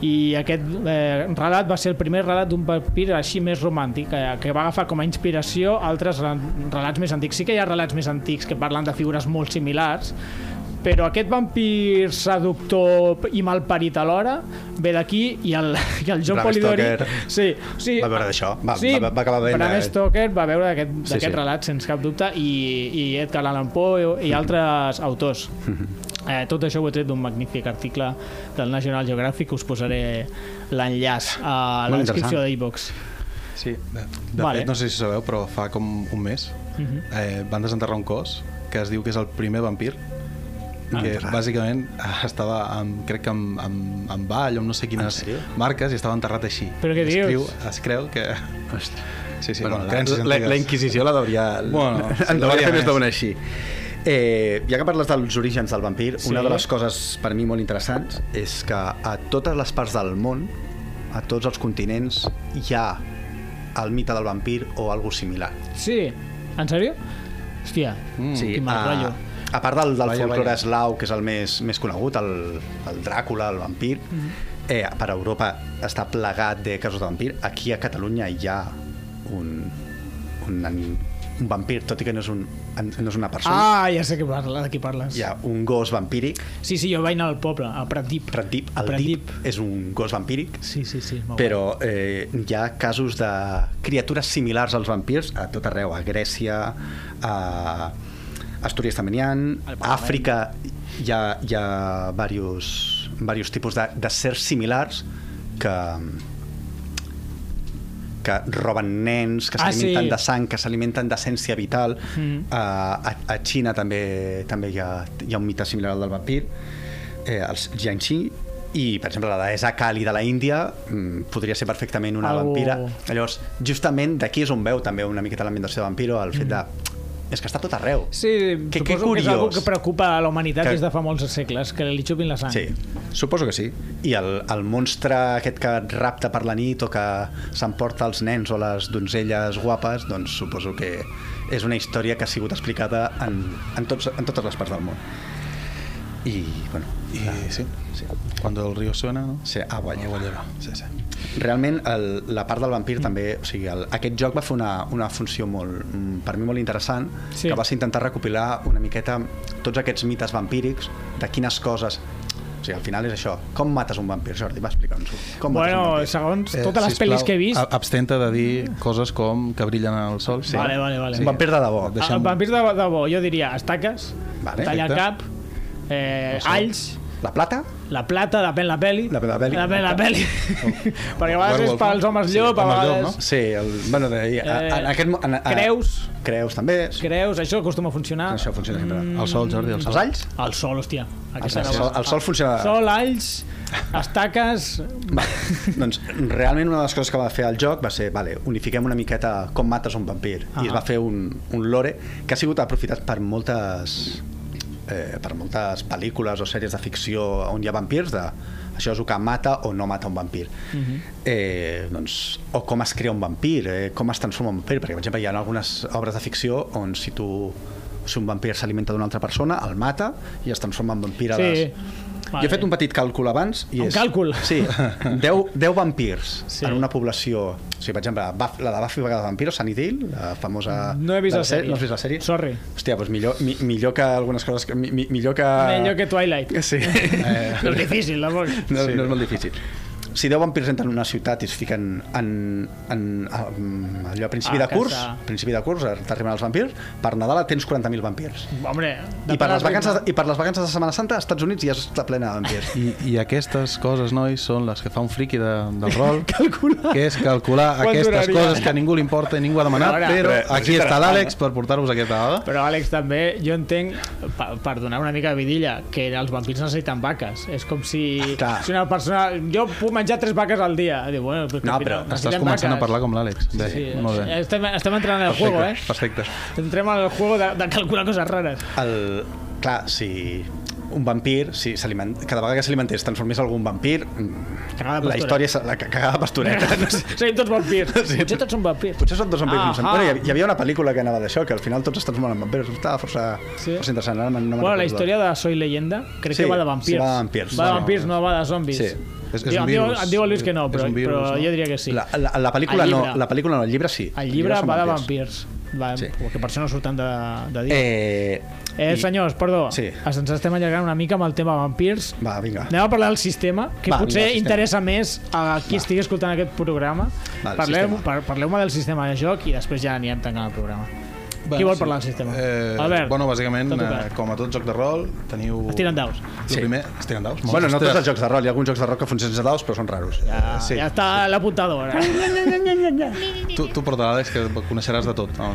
[SPEAKER 1] I aquest eh, relat va ser el primer relat d'un vampir així més romàntic, eh, que va agafar com a inspiració altres re- relats més antics. Sí que hi ha relats més antics que parlen de figures molt similars, però aquest vampir seductor i malparit alhora ve d'aquí i el, i el John
[SPEAKER 4] Bram
[SPEAKER 1] Polidori...
[SPEAKER 4] Stoker.
[SPEAKER 1] Sí, sí,
[SPEAKER 4] Va veure d'això. Va-
[SPEAKER 1] sí,
[SPEAKER 4] va- va acabar veient,
[SPEAKER 1] Bram
[SPEAKER 4] eh?
[SPEAKER 1] Stoker va veure d'aquest sí, sí.
[SPEAKER 4] sí. Mm-hmm.
[SPEAKER 1] relat, sens cap dubte, i, i Edgar Allan Poe i altres autors. Eh, tot això ho he tret d'un magnífic article del National Geographic, us posaré l'enllaç a la
[SPEAKER 4] Molt
[SPEAKER 1] descripció
[SPEAKER 4] interessant.
[SPEAKER 1] d'e-books.
[SPEAKER 2] Sí. De, de
[SPEAKER 1] Vale.
[SPEAKER 2] vale. fet, no sé si sabeu, però fa com un mes uh -huh. eh, van desenterrar un cos que es diu que és el primer vampir que bàsicament ah, estava amb, crec que amb, amb, amb ball o amb no sé quines marques i estava enterrat així
[SPEAKER 1] Però què
[SPEAKER 2] I es
[SPEAKER 1] dius?
[SPEAKER 2] Creu, es creu que... Sí, sí,
[SPEAKER 5] bueno,
[SPEAKER 2] bueno,
[SPEAKER 5] la,
[SPEAKER 2] creences
[SPEAKER 5] la, la
[SPEAKER 2] antigues.
[SPEAKER 5] Inquisició la deuria...
[SPEAKER 2] Bueno,
[SPEAKER 5] en
[SPEAKER 2] la
[SPEAKER 5] deuria
[SPEAKER 2] deuria
[SPEAKER 5] fer més
[SPEAKER 2] més.
[SPEAKER 5] d'una així.
[SPEAKER 4] Eh, ja que parles dels orígens del vampir,
[SPEAKER 1] Sí.
[SPEAKER 4] sí. una de les coses per mi molt interessants és que a totes les parts del món, a tots els continents, hi ha el mite del vampir o algo similar.
[SPEAKER 1] Sí, en sèrio? Hòstia,
[SPEAKER 4] Mm. Sí,
[SPEAKER 1] quin mal rotllo.
[SPEAKER 4] a, a part del, del
[SPEAKER 2] Vaya,
[SPEAKER 4] folclore
[SPEAKER 2] vaya.
[SPEAKER 4] eslau, que és el més, més conegut, el, el Dràcula, el vampir,
[SPEAKER 1] Mm-hmm.
[SPEAKER 4] eh, per Europa està plegat de casos de vampir. Aquí a Catalunya hi ha un, un, un vampir, tot i que no és, un, no és una persona.
[SPEAKER 1] Ah, ja sé que parla, de qui parles.
[SPEAKER 4] Hi ha un gos vampíric
[SPEAKER 1] Sí, sí, jo vaig anar al poble, a Pratdip.
[SPEAKER 4] Pratdip, el
[SPEAKER 1] Pratdip.
[SPEAKER 4] Pratdip. Dip és un gos vampíric,
[SPEAKER 1] Sí, sí, sí. molt
[SPEAKER 4] però eh, hi ha casos de criatures similars als vampirs a tot arreu, a Grècia, a Astúries Tamenian,
[SPEAKER 1] Al
[SPEAKER 4] a
[SPEAKER 1] Parlament.
[SPEAKER 4] Àfrica, hi ha, hi ha diversos, diversos tipus de, de sers similars que que roben nens, que
[SPEAKER 1] Ah,
[SPEAKER 4] s'alimenten
[SPEAKER 1] sí.
[SPEAKER 4] de sang, que s'alimenten d'essència vital. Mm. Uh, a, a Xina també també hi ha, hi ha un mite similar al del vampir, eh, els Jiangxi, i, per exemple, la deessa Kali de la Índia mm, podria ser perfectament una
[SPEAKER 1] Algo-
[SPEAKER 4] vampira. Llavors, justament d'aquí és on veu també una miqueta l'ambientació de vampiro, el fet de... És que està tot arreu.
[SPEAKER 1] Sí, que,
[SPEAKER 4] que, que
[SPEAKER 1] suposo que, és una
[SPEAKER 4] curiós.
[SPEAKER 1] que preocupa a la humanitat
[SPEAKER 4] Que-
[SPEAKER 1] des de fa molts segles, que li xupin la sang.
[SPEAKER 4] Sí,
[SPEAKER 5] Suposo que sí.
[SPEAKER 4] i el, el monstre aquest que et rapta per la nit o que s'emporta els nens o les donzelles guapes, doncs suposo que és una història que ha sigut explicada en, en, tots, en totes les parts del món. I, bueno,
[SPEAKER 2] I sí,
[SPEAKER 4] sí.
[SPEAKER 2] cuando el río suena, no?
[SPEAKER 4] Sí, ah, guanya.
[SPEAKER 2] Agua lleva. Sí, sí.
[SPEAKER 4] Realment, el, la part del vampir també... O sigui, el, aquest joc va fer una, una funció molt, mm, per mi molt interessant,
[SPEAKER 1] Sí.
[SPEAKER 4] sí. que vas intentar recopilar una miqueta tots aquests mites vampírics, de quines coses... O sigui, al final és això. Com mates un vampir, Jordi? Va, explica'ns-ho. Com mates un
[SPEAKER 1] Bueno,
[SPEAKER 4] vampir?
[SPEAKER 1] segons eh, totes les
[SPEAKER 2] sisplau,
[SPEAKER 1] pel·lis que he vist...
[SPEAKER 2] a- Abstenta de dir coses com que brillen al sol. Sí.
[SPEAKER 1] Vale, vale, vale.
[SPEAKER 4] Un vampir de debò.
[SPEAKER 2] Et
[SPEAKER 1] Deixem...
[SPEAKER 2] deixem-
[SPEAKER 1] El vampir Ah, de, de bo, jo diria estaques,
[SPEAKER 4] Vale,
[SPEAKER 1] tallar
[SPEAKER 2] perfecte.
[SPEAKER 1] cap, eh, alls,
[SPEAKER 4] La plata?
[SPEAKER 1] la plata, depèn la peli.
[SPEAKER 4] Depèn la Oh. peli.
[SPEAKER 1] Depèn la peli. Perquè a vegades és
[SPEAKER 2] Werewolf,
[SPEAKER 1] pels
[SPEAKER 2] no?
[SPEAKER 1] homes
[SPEAKER 2] Sí,
[SPEAKER 1] llop, a
[SPEAKER 2] homes llop,
[SPEAKER 1] vegades...
[SPEAKER 2] no?
[SPEAKER 4] Sí, el, bueno, de, a,
[SPEAKER 1] Eh,
[SPEAKER 4] en aquest... mo- En, a,
[SPEAKER 1] Creus,
[SPEAKER 4] Creus també.
[SPEAKER 1] creus, això acostuma a funcionar.
[SPEAKER 4] Això funciona sempre.
[SPEAKER 2] El sol, Jordi, el sol.
[SPEAKER 4] Els alls?
[SPEAKER 1] El sol, hòstia.
[SPEAKER 4] El,
[SPEAKER 1] Aquesta
[SPEAKER 4] el,
[SPEAKER 1] era
[SPEAKER 4] sol,
[SPEAKER 1] bona.
[SPEAKER 4] el sol funciona...
[SPEAKER 1] Sol, alls, estaques...
[SPEAKER 4] Va, doncs realment una de les coses que va fer el joc va ser, vale, unifiquem una miqueta com mates un vampir
[SPEAKER 1] Ah.
[SPEAKER 4] i es va fer un, un lore que ha sigut aprofitat per moltes eh, per moltes pel·lícules o sèries de ficció on hi ha vampirs de això és el que mata o no mata un vampir uh -huh. eh, doncs, o com es crea un vampir eh, com es transforma un vampir perquè per exemple hi ha algunes obres de ficció on si tu si un vampir s'alimenta d'una altra persona el mata i es transforma en vampir a
[SPEAKER 1] Sí.
[SPEAKER 4] les... Jo he fet un petit càlcul abans. I
[SPEAKER 1] Un
[SPEAKER 4] és,
[SPEAKER 1] càlcul?
[SPEAKER 4] Sí, 10, 10 vampirs
[SPEAKER 1] Sí.
[SPEAKER 4] sí. en una població... O sigui, per exemple, Buff, la de Buffy vegada de vampiros, Sunny Hill, la famosa...
[SPEAKER 1] No he vist
[SPEAKER 4] de
[SPEAKER 1] la sèrie.
[SPEAKER 4] No has vist la sèrie?
[SPEAKER 1] Sorry.
[SPEAKER 4] Hòstia, doncs millor, mi, millor que algunes coses... Que, mi, mi- millor que...
[SPEAKER 1] Millor que Twilight.
[SPEAKER 4] Sí. Eh,
[SPEAKER 1] No és difícil, la boca.
[SPEAKER 4] no, sí. no és molt difícil. Si 10 vampirs entren en una ciutat i es fiquen en, en, en allò a principi
[SPEAKER 1] A
[SPEAKER 4] de curs,
[SPEAKER 1] Ah, casa.
[SPEAKER 4] principi de curs, t'arriben els vampirs, per Nadal tens 40.000 vampirs.
[SPEAKER 1] Hombre,
[SPEAKER 4] I per,
[SPEAKER 1] depèn
[SPEAKER 4] les
[SPEAKER 1] del
[SPEAKER 4] vacances,
[SPEAKER 1] ritme.
[SPEAKER 4] I per les vacances de Setmana Santa, als Estats Units ja està plena de vampirs.
[SPEAKER 2] I, I aquestes coses, nois, són les que fa un friki de, del rol,
[SPEAKER 1] Calcular.
[SPEAKER 2] que és calcular
[SPEAKER 1] Quant
[SPEAKER 2] aquestes
[SPEAKER 1] duraria?
[SPEAKER 2] coses que a ningú li importa i ningú ha demanat,
[SPEAKER 1] Però ara-
[SPEAKER 2] però
[SPEAKER 5] Res,
[SPEAKER 2] aquí
[SPEAKER 5] necessitarà-
[SPEAKER 2] està l'Àlex per portar-vos aquesta dada.
[SPEAKER 1] Però, Àlex, també, jo entenc, per, per donar una mica de vidilla, que els vampirs necessiten vaques. És com si,
[SPEAKER 4] Clar.
[SPEAKER 1] si una persona... Jo puc menjar tres vaques al dia. Diu, bueno, però,
[SPEAKER 4] No,
[SPEAKER 1] que
[SPEAKER 4] però
[SPEAKER 1] necessitem
[SPEAKER 2] Estàs començant
[SPEAKER 1] vaques.
[SPEAKER 2] a parlar com l'Àlex. Bé,
[SPEAKER 1] Sí,
[SPEAKER 2] molt bé.
[SPEAKER 1] estem, estem entrant en el juego, eh?
[SPEAKER 2] Perfecte.
[SPEAKER 1] Entrem en el juego de, de calcular coses rares.
[SPEAKER 4] el, clar, si un vampir, si s'aliment- cada vegada que s'alimentés es transformés en algun vampir, mm,
[SPEAKER 1] Cagada
[SPEAKER 4] la
[SPEAKER 1] pastoreta.
[SPEAKER 4] història és la ca- cagada pastoreta. No sé.
[SPEAKER 1] Seguim tots vampirs. Potser tots són vampirs.
[SPEAKER 4] Potser són dos vampirs. Ah,
[SPEAKER 1] Ahà.
[SPEAKER 4] bueno, hi, havia- hi havia una pel·lícula que anava d'això, que al final tots es transformen en vampirs. Estava força,
[SPEAKER 1] Sí.
[SPEAKER 4] sí. força interessant. Ara no me'n
[SPEAKER 1] Bueno, la
[SPEAKER 4] recordo.
[SPEAKER 1] història de Soy Leyenda crec
[SPEAKER 4] Sí,
[SPEAKER 1] que va de vampirs.
[SPEAKER 4] sí, va de vampirs.
[SPEAKER 1] Va de
[SPEAKER 4] No,
[SPEAKER 1] vampirs, no, va de zombis.
[SPEAKER 4] Sí.
[SPEAKER 2] És- és
[SPEAKER 1] Diu-
[SPEAKER 2] un
[SPEAKER 1] em diu-
[SPEAKER 2] virus.
[SPEAKER 1] Em diu el Lluís que no,
[SPEAKER 2] És
[SPEAKER 1] però,
[SPEAKER 2] un virus,
[SPEAKER 1] però
[SPEAKER 2] no?
[SPEAKER 1] jo diria que sí.
[SPEAKER 4] La, la, la pel·lícula
[SPEAKER 1] El
[SPEAKER 4] no,
[SPEAKER 1] llibre.
[SPEAKER 4] la pel·lícula no, el llibre sí.
[SPEAKER 1] El llibre
[SPEAKER 4] són
[SPEAKER 1] va de
[SPEAKER 4] vampirs.
[SPEAKER 1] vampirs. Va, sí.
[SPEAKER 4] Sí.
[SPEAKER 1] Que per això no surten de, de dir. Eh,
[SPEAKER 4] Eh,
[SPEAKER 1] eh senyors, perdó, sí.
[SPEAKER 4] Sí.
[SPEAKER 1] ens estem allargant una mica amb el tema vampirs.
[SPEAKER 4] Va, vinga.
[SPEAKER 1] Anem a parlar del sistema, que
[SPEAKER 4] Va,
[SPEAKER 1] Va, potser
[SPEAKER 4] vinga, sistema.
[SPEAKER 1] interessa més a qui Va. estigui escoltant aquest programa.
[SPEAKER 4] Va, el
[SPEAKER 1] Parleu-me
[SPEAKER 4] sistema.
[SPEAKER 1] par, parleu del sistema de joc i després ja anirem tancant el programa.
[SPEAKER 4] Uh.
[SPEAKER 1] Bueno, Qui vol parlar del sistema?
[SPEAKER 2] Eh,
[SPEAKER 1] Albert,
[SPEAKER 2] bueno, bàsicament,
[SPEAKER 1] t'ha
[SPEAKER 2] eh,
[SPEAKER 1] tocat.
[SPEAKER 2] com a tot joc de rol, teniu...
[SPEAKER 1] Estiren daus.
[SPEAKER 2] Sí. Primer, estiren daus.
[SPEAKER 4] Bueno, no tots
[SPEAKER 2] Ostres.
[SPEAKER 4] els jocs de rol, hi ha alguns jocs de rol que funcionen de daus, però són raros. Eh,
[SPEAKER 1] Ja, sí.
[SPEAKER 2] sí.
[SPEAKER 1] Ah, ja està l'apuntadora.
[SPEAKER 2] Tu, tu porta l'Àlex, que coneixeràs de tot. No?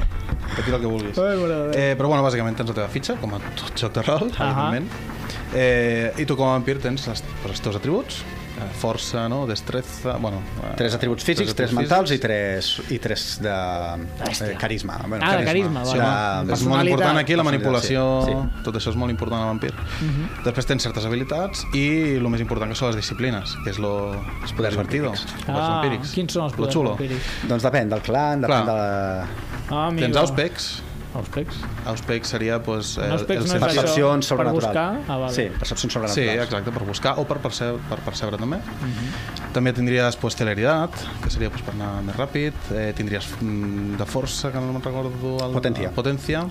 [SPEAKER 2] Que tira el que vulguis.
[SPEAKER 1] Ai, mare de Déu.
[SPEAKER 2] Eh, però bueno, bàsicament tens la teva fitxa, com a tot joc de rol, uh
[SPEAKER 1] Ahà.
[SPEAKER 2] -huh. evidentment. Eh, I tu com a vampir tens els, doncs, els teus atributs, eh, força, no? destreza... Bueno, eh,
[SPEAKER 4] Tres atributs físics, tres,
[SPEAKER 2] atributs
[SPEAKER 4] mentals i
[SPEAKER 2] físics.
[SPEAKER 4] tres, i tres de
[SPEAKER 1] Hòstia.
[SPEAKER 4] eh, carisma. Bueno,
[SPEAKER 1] Ah, de carisma,
[SPEAKER 4] Sí,
[SPEAKER 1] vale.
[SPEAKER 4] home,
[SPEAKER 2] És
[SPEAKER 4] és
[SPEAKER 2] molt
[SPEAKER 1] Personalitat.
[SPEAKER 2] important aquí la manipulació,
[SPEAKER 4] Personalitat,
[SPEAKER 2] sí. tot això és molt important a Vampir.
[SPEAKER 1] Mhm.
[SPEAKER 2] Després tens certes habilitats i el més important que són les disciplines, que és lo els
[SPEAKER 4] poders
[SPEAKER 2] divertido.
[SPEAKER 4] vampírics.
[SPEAKER 2] Els poders
[SPEAKER 1] Ah,
[SPEAKER 2] vampírics.
[SPEAKER 1] quins són els
[SPEAKER 2] Lo
[SPEAKER 1] poders
[SPEAKER 2] xulo.
[SPEAKER 1] vampírics?
[SPEAKER 4] molt- Doncs depèn del clan, depèn
[SPEAKER 2] Clar.
[SPEAKER 4] de la...
[SPEAKER 1] Ah, amigo.
[SPEAKER 2] Tens Auspex,
[SPEAKER 1] Auspecs?
[SPEAKER 2] Auspex seria doncs, eh,
[SPEAKER 1] Auspex no és això.
[SPEAKER 2] sentit-
[SPEAKER 4] Percepcions
[SPEAKER 1] per
[SPEAKER 4] sobrenaturals.
[SPEAKER 1] buscar? Ah, vale.
[SPEAKER 4] Sí, percepcions
[SPEAKER 2] Sí,
[SPEAKER 4] sobrenaturals.
[SPEAKER 2] exacte, per buscar o per percebre, per percebre també.
[SPEAKER 4] Mhm.
[SPEAKER 2] També tindries pues, celeritat, que seria pues, per anar més ràpid, eh, tindries mm, de força, que no me'n recordo... El,
[SPEAKER 4] Potencia. Mhm.
[SPEAKER 2] Potència.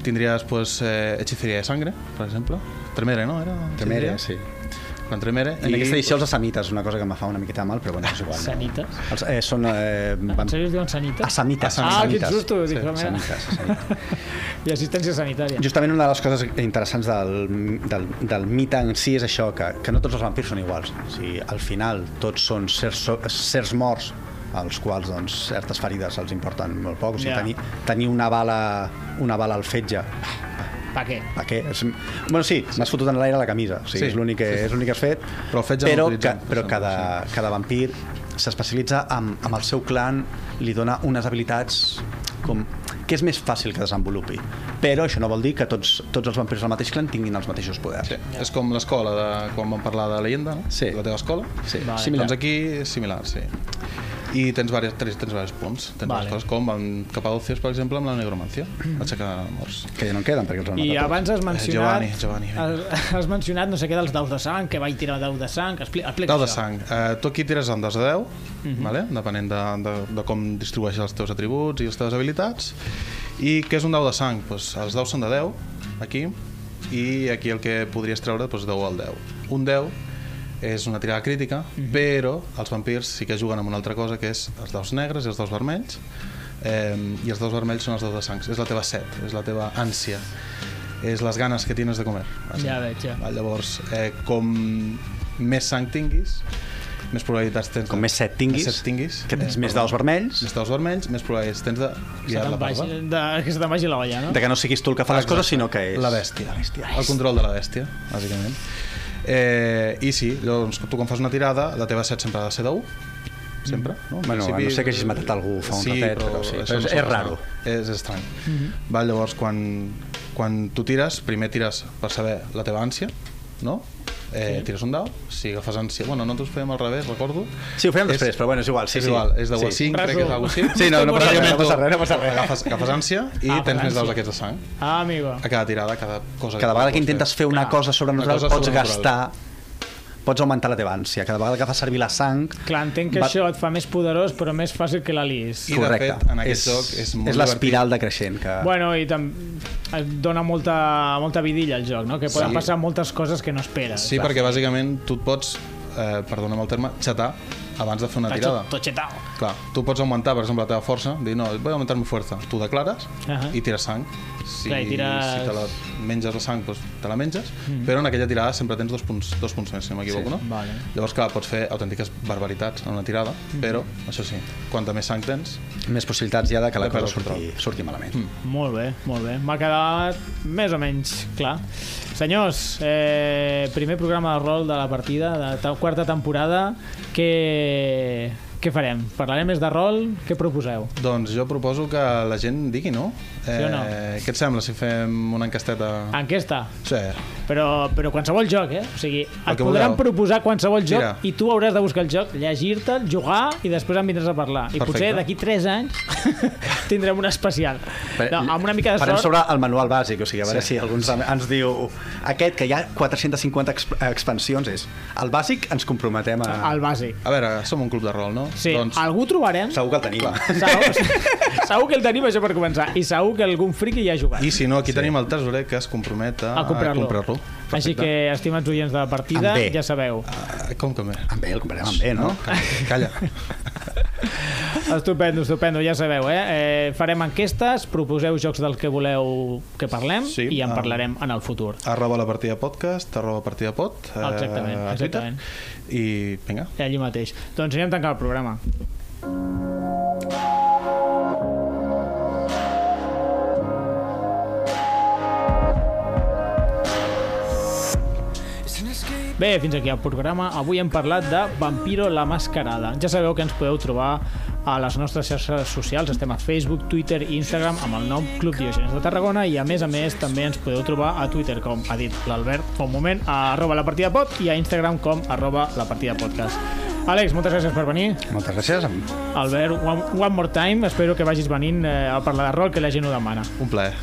[SPEAKER 2] Tindries pues, eh, hechiceria de sangre, per exemple. Tremere, no? Era
[SPEAKER 4] Tremere,
[SPEAKER 2] hechiceria?
[SPEAKER 4] sí.
[SPEAKER 2] Quan tremere.
[SPEAKER 4] En aquesta edició els assamites, una cosa que em fa una miqueta mal, però bueno, és igual.
[SPEAKER 1] Sanites?
[SPEAKER 4] Els, eh, són... Eh,
[SPEAKER 1] En
[SPEAKER 4] van...
[SPEAKER 1] sèrio es diuen sanites?
[SPEAKER 4] Assamites.
[SPEAKER 1] Ah,
[SPEAKER 4] assamites.
[SPEAKER 1] quin susto, dic, mira.
[SPEAKER 4] assamites, assamites.
[SPEAKER 1] I assistència sanitària.
[SPEAKER 4] Justament una de les coses interessants del, del, del mite en si és això, que, que no tots els vampirs són iguals. O sigui, al final tots són certs, so- certs morts als quals doncs, certes ferides els importen molt poc. O sigui,
[SPEAKER 1] Ja.
[SPEAKER 4] tenir, tenir una, bala, una bala al fetge,
[SPEAKER 1] Per què?
[SPEAKER 4] a què? És, bueno, sí, m'has fotut en l'aire la camisa. O sigui,
[SPEAKER 2] Sí.
[SPEAKER 4] sí. és l'únic que, és l'únic que has fet.
[SPEAKER 2] Però el fetge no
[SPEAKER 4] però,
[SPEAKER 2] l'utilitzem,
[SPEAKER 4] ca,
[SPEAKER 2] per
[SPEAKER 4] però
[SPEAKER 2] això,
[SPEAKER 4] cada, cada vampir s'especialitza amb, amb el seu clan, li dona unes habilitats com que és més fàcil que desenvolupi. Però això no vol dir que tots, tots els vampirs del mateix clan tinguin els mateixos poders.
[SPEAKER 2] Sí. És com l'escola, de, quan vam parlar de leyenda, no?
[SPEAKER 4] Sí.
[SPEAKER 2] La teva escola.
[SPEAKER 4] Sí,
[SPEAKER 1] Vale.
[SPEAKER 4] similar.
[SPEAKER 2] Doncs aquí és similar, sí. I tens diverses, tens, tens diversos punts. Tens
[SPEAKER 1] Vale.
[SPEAKER 2] vale. coses com en Capadocios, per exemple, amb la negromancia, aixecar morts.
[SPEAKER 4] Que ja no en queden, perquè els han
[SPEAKER 1] I
[SPEAKER 4] matat
[SPEAKER 1] abans has mencionat...
[SPEAKER 2] Eh, Giovanni, Giovanni, vinga.
[SPEAKER 1] Has, has mencionat no sé què dels daus de sang, que vaig tirar daus de sang... que Expli explica
[SPEAKER 2] Dau de
[SPEAKER 1] això. Mhm.
[SPEAKER 2] sang. Uh, tu aquí tires amb dos de 10, vale? depenent de, de, de com distribueixes els teus atributs i les teves habilitats. I què és un dau de sang? Pues, els daus són de 10, aquí, i aquí el que podries treure pues, 10 al 10. Un 10 és una tirada crítica,
[SPEAKER 1] Mhm.
[SPEAKER 2] però els vampirs sí que juguen amb una altra cosa, que és els daus negres i els daus vermells, eh, i els daus vermells són els daus de sang. És la teva set, és la teva ànsia, és les ganes que tienes de comer.
[SPEAKER 1] Ja veig, ja.
[SPEAKER 2] Ah, Llavors, eh, com més sang tinguis, més probabilitats tens...
[SPEAKER 4] Com
[SPEAKER 2] de-
[SPEAKER 4] més set tinguis,
[SPEAKER 2] més set tinguis Eh,
[SPEAKER 4] que tens més daus vermells,
[SPEAKER 2] més daus vermells, més probabilitats tens de
[SPEAKER 1] Que
[SPEAKER 2] guiar
[SPEAKER 1] se'n
[SPEAKER 2] la
[SPEAKER 1] vagi,
[SPEAKER 2] parva.
[SPEAKER 1] de, que se te'n vagi la olla, no?
[SPEAKER 4] de que no siguis tu el que fa les
[SPEAKER 2] Exacte.
[SPEAKER 4] coses, sinó que és...
[SPEAKER 2] La bèstia.
[SPEAKER 4] La bèstia.
[SPEAKER 2] El control de la bèstia, bàsicament. Eh, I sí, llavors, tu quan fas una tirada, la teva set sempre ha de ser de 1, sempre, no? En
[SPEAKER 4] Bueno, a no ser que hagis matat algú fa un
[SPEAKER 2] sí,
[SPEAKER 4] ratet,
[SPEAKER 2] però,
[SPEAKER 4] però sí, però
[SPEAKER 2] això
[SPEAKER 4] és-
[SPEAKER 2] sol
[SPEAKER 4] és
[SPEAKER 2] passar.
[SPEAKER 4] raro.
[SPEAKER 2] És estrany. Val, llavors, quan, quan tu tires, primer tires per saber la teva ànsia, no? Eh, sí. Tires un dau, si agafes ànsia... Bueno, no ens fèiem al revés, recordo.
[SPEAKER 4] Sí, ho fèiem
[SPEAKER 2] És-
[SPEAKER 4] després, però bueno, és igual. Sí,
[SPEAKER 2] és
[SPEAKER 4] sí.
[SPEAKER 2] igual, és de 1 a
[SPEAKER 4] sí.
[SPEAKER 2] 5, crec que és algo així.
[SPEAKER 4] Sí, no, no passa res, no passa res, no passa res.
[SPEAKER 2] Agafes, agafes ànsia i
[SPEAKER 1] Ah,
[SPEAKER 2] tens més
[SPEAKER 1] ànsia.
[SPEAKER 2] daus aquests de sang.
[SPEAKER 1] Ah, amigo.
[SPEAKER 2] A cada tirada, a cada cosa.
[SPEAKER 4] Cada vegada que
[SPEAKER 2] pots fer.
[SPEAKER 4] intentes fer una
[SPEAKER 1] Clar.
[SPEAKER 4] cosa sobrenatural
[SPEAKER 2] Una cosa
[SPEAKER 4] pots
[SPEAKER 2] sobrenatural.
[SPEAKER 4] gastar pots augmentar la teva ànsia. Cada vegada que fas servir la sang...
[SPEAKER 1] Clar, entenc que
[SPEAKER 4] va-
[SPEAKER 1] això et fa més poderós, però més fàcil que la lis.
[SPEAKER 2] I- de
[SPEAKER 4] Correcte.
[SPEAKER 2] fet, en aquest joc és molt
[SPEAKER 4] És
[SPEAKER 2] divertit.
[SPEAKER 4] l'espiral decreixent. Que...
[SPEAKER 1] Bueno, i tam... et dona molta, molta vidilla al joc, no? Que poden
[SPEAKER 2] Sí.
[SPEAKER 1] passar moltes coses que no esperes.
[SPEAKER 2] Sí, perquè bàsicament tu et pots, eh, perdona'm el terme, xatar abans de fer una tirada.
[SPEAKER 1] Tot xetao.
[SPEAKER 2] Clar, tu pots augmentar, per exemple, la teva força, dir, no, vull augmentar mi força. Tu declares
[SPEAKER 1] Ahà.
[SPEAKER 2] i tires sang. Si,
[SPEAKER 1] Clar, i tires- Mm.
[SPEAKER 2] si te la menges la sang, doncs te la menges, però en aquella tirada sempre tens dos punts, dos punts més, si no m'equivoco, no?
[SPEAKER 1] vale. Mm.
[SPEAKER 2] Llavors, clar, pots fer autèntiques barbaritats en una tirada, però, això sí, quanta més sang tens,
[SPEAKER 4] Més possibilitats hi ha de que la
[SPEAKER 2] De
[SPEAKER 4] cosa
[SPEAKER 2] perdre el Hmm.
[SPEAKER 4] surti, surti malament.
[SPEAKER 1] Molt bé, molt bé. M'ha quedat més o menys clar. Senyors, eh, primer programa de rol de la partida, de ta quarta temporada. Què, què farem? Parlarem més de rol? Què proposeu?
[SPEAKER 2] doncs jo proposo que la gent digui, no? Eh,
[SPEAKER 1] o no? Ah.
[SPEAKER 2] Què et sembla si fem una enquesteta?
[SPEAKER 1] Enquesta.
[SPEAKER 2] Sí.
[SPEAKER 1] Però, però qualsevol joc, eh? O sigui, et
[SPEAKER 2] que
[SPEAKER 1] podran
[SPEAKER 2] vulgueu.
[SPEAKER 1] proposar qualsevol joc
[SPEAKER 2] Tira.
[SPEAKER 1] i tu hauràs de buscar el joc, llegir-te'l, jugar i després em vindràs a parlar. I
[SPEAKER 2] Perfecte.
[SPEAKER 1] potser d'aquí 3 anys tindrem un especial. No, amb una mica de
[SPEAKER 4] Farem
[SPEAKER 1] sort...
[SPEAKER 4] sobre el manual bàsic, o sigui, a veure
[SPEAKER 2] Sí.
[SPEAKER 4] sí. si algú ens, ens diu "Uh, aquest, que hi ha 450 exp expansions, és el bàsic, ens comprometem a...
[SPEAKER 1] El bàsic.
[SPEAKER 2] A veure, som un club de rol, no?
[SPEAKER 1] Sí, doncs...
[SPEAKER 2] Doncs-
[SPEAKER 1] algú trobarem...
[SPEAKER 4] Segur que el tenim.
[SPEAKER 1] Segur, segur que el tenim, això per començar. I segur que algun friki hi ha jugat.
[SPEAKER 2] I si no, aquí sí. tenim el tesorer que es compromet a,
[SPEAKER 1] a comprar-lo.
[SPEAKER 2] comprar
[SPEAKER 1] Així que, estimats oients de la partida,
[SPEAKER 4] Amb B.
[SPEAKER 1] ja sabeu.
[SPEAKER 2] Uh, com que bé?
[SPEAKER 4] Amb bé, el comprarem amb bé, no?
[SPEAKER 2] Calla.
[SPEAKER 1] Estupendo, estupendo, ja sabeu, eh? eh farem enquestes, proposeu jocs del que voleu que parlem sí,
[SPEAKER 2] Sí,
[SPEAKER 1] i en
[SPEAKER 2] ah.
[SPEAKER 1] parlarem en el futur.
[SPEAKER 2] arroba la partida podcast, arroba partida pot. eh,
[SPEAKER 1] Exactament,
[SPEAKER 2] a Twitter.
[SPEAKER 1] exactament.
[SPEAKER 2] I vinga.
[SPEAKER 1] Allí mateix. Doncs anem a tancar el programa. Bé, fins aquí el programa. Avui hem parlat de Vampiro la Mascarada. Ja sabeu que ens podeu trobar a les nostres xarxes socials. Estem a Facebook, Twitter i Instagram amb el nom Club Diogenes de Tarragona i a més a més també ens podeu trobar a Twitter com ha dit l'Albert fa un moment a arroba la partida pot i a Instagram com arroba la partida podcast. Àlex, moltes gràcies per venir.
[SPEAKER 4] Moltes gràcies. Amb...
[SPEAKER 1] Albert, one, one more time. Espero que vagis venint eh, a parlar de rol, que la gent ho demana.
[SPEAKER 2] Un plaer.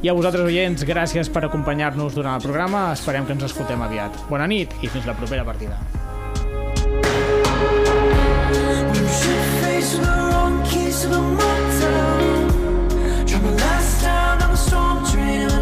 [SPEAKER 1] I a vosaltres, oients, gràcies per acompanyar-nos durant el programa. Esperem que ens escoltem aviat. Bona nit i fins la propera partida.
[SPEAKER 5] You should face the wrong keys to the motel. Try my last time on the storm train.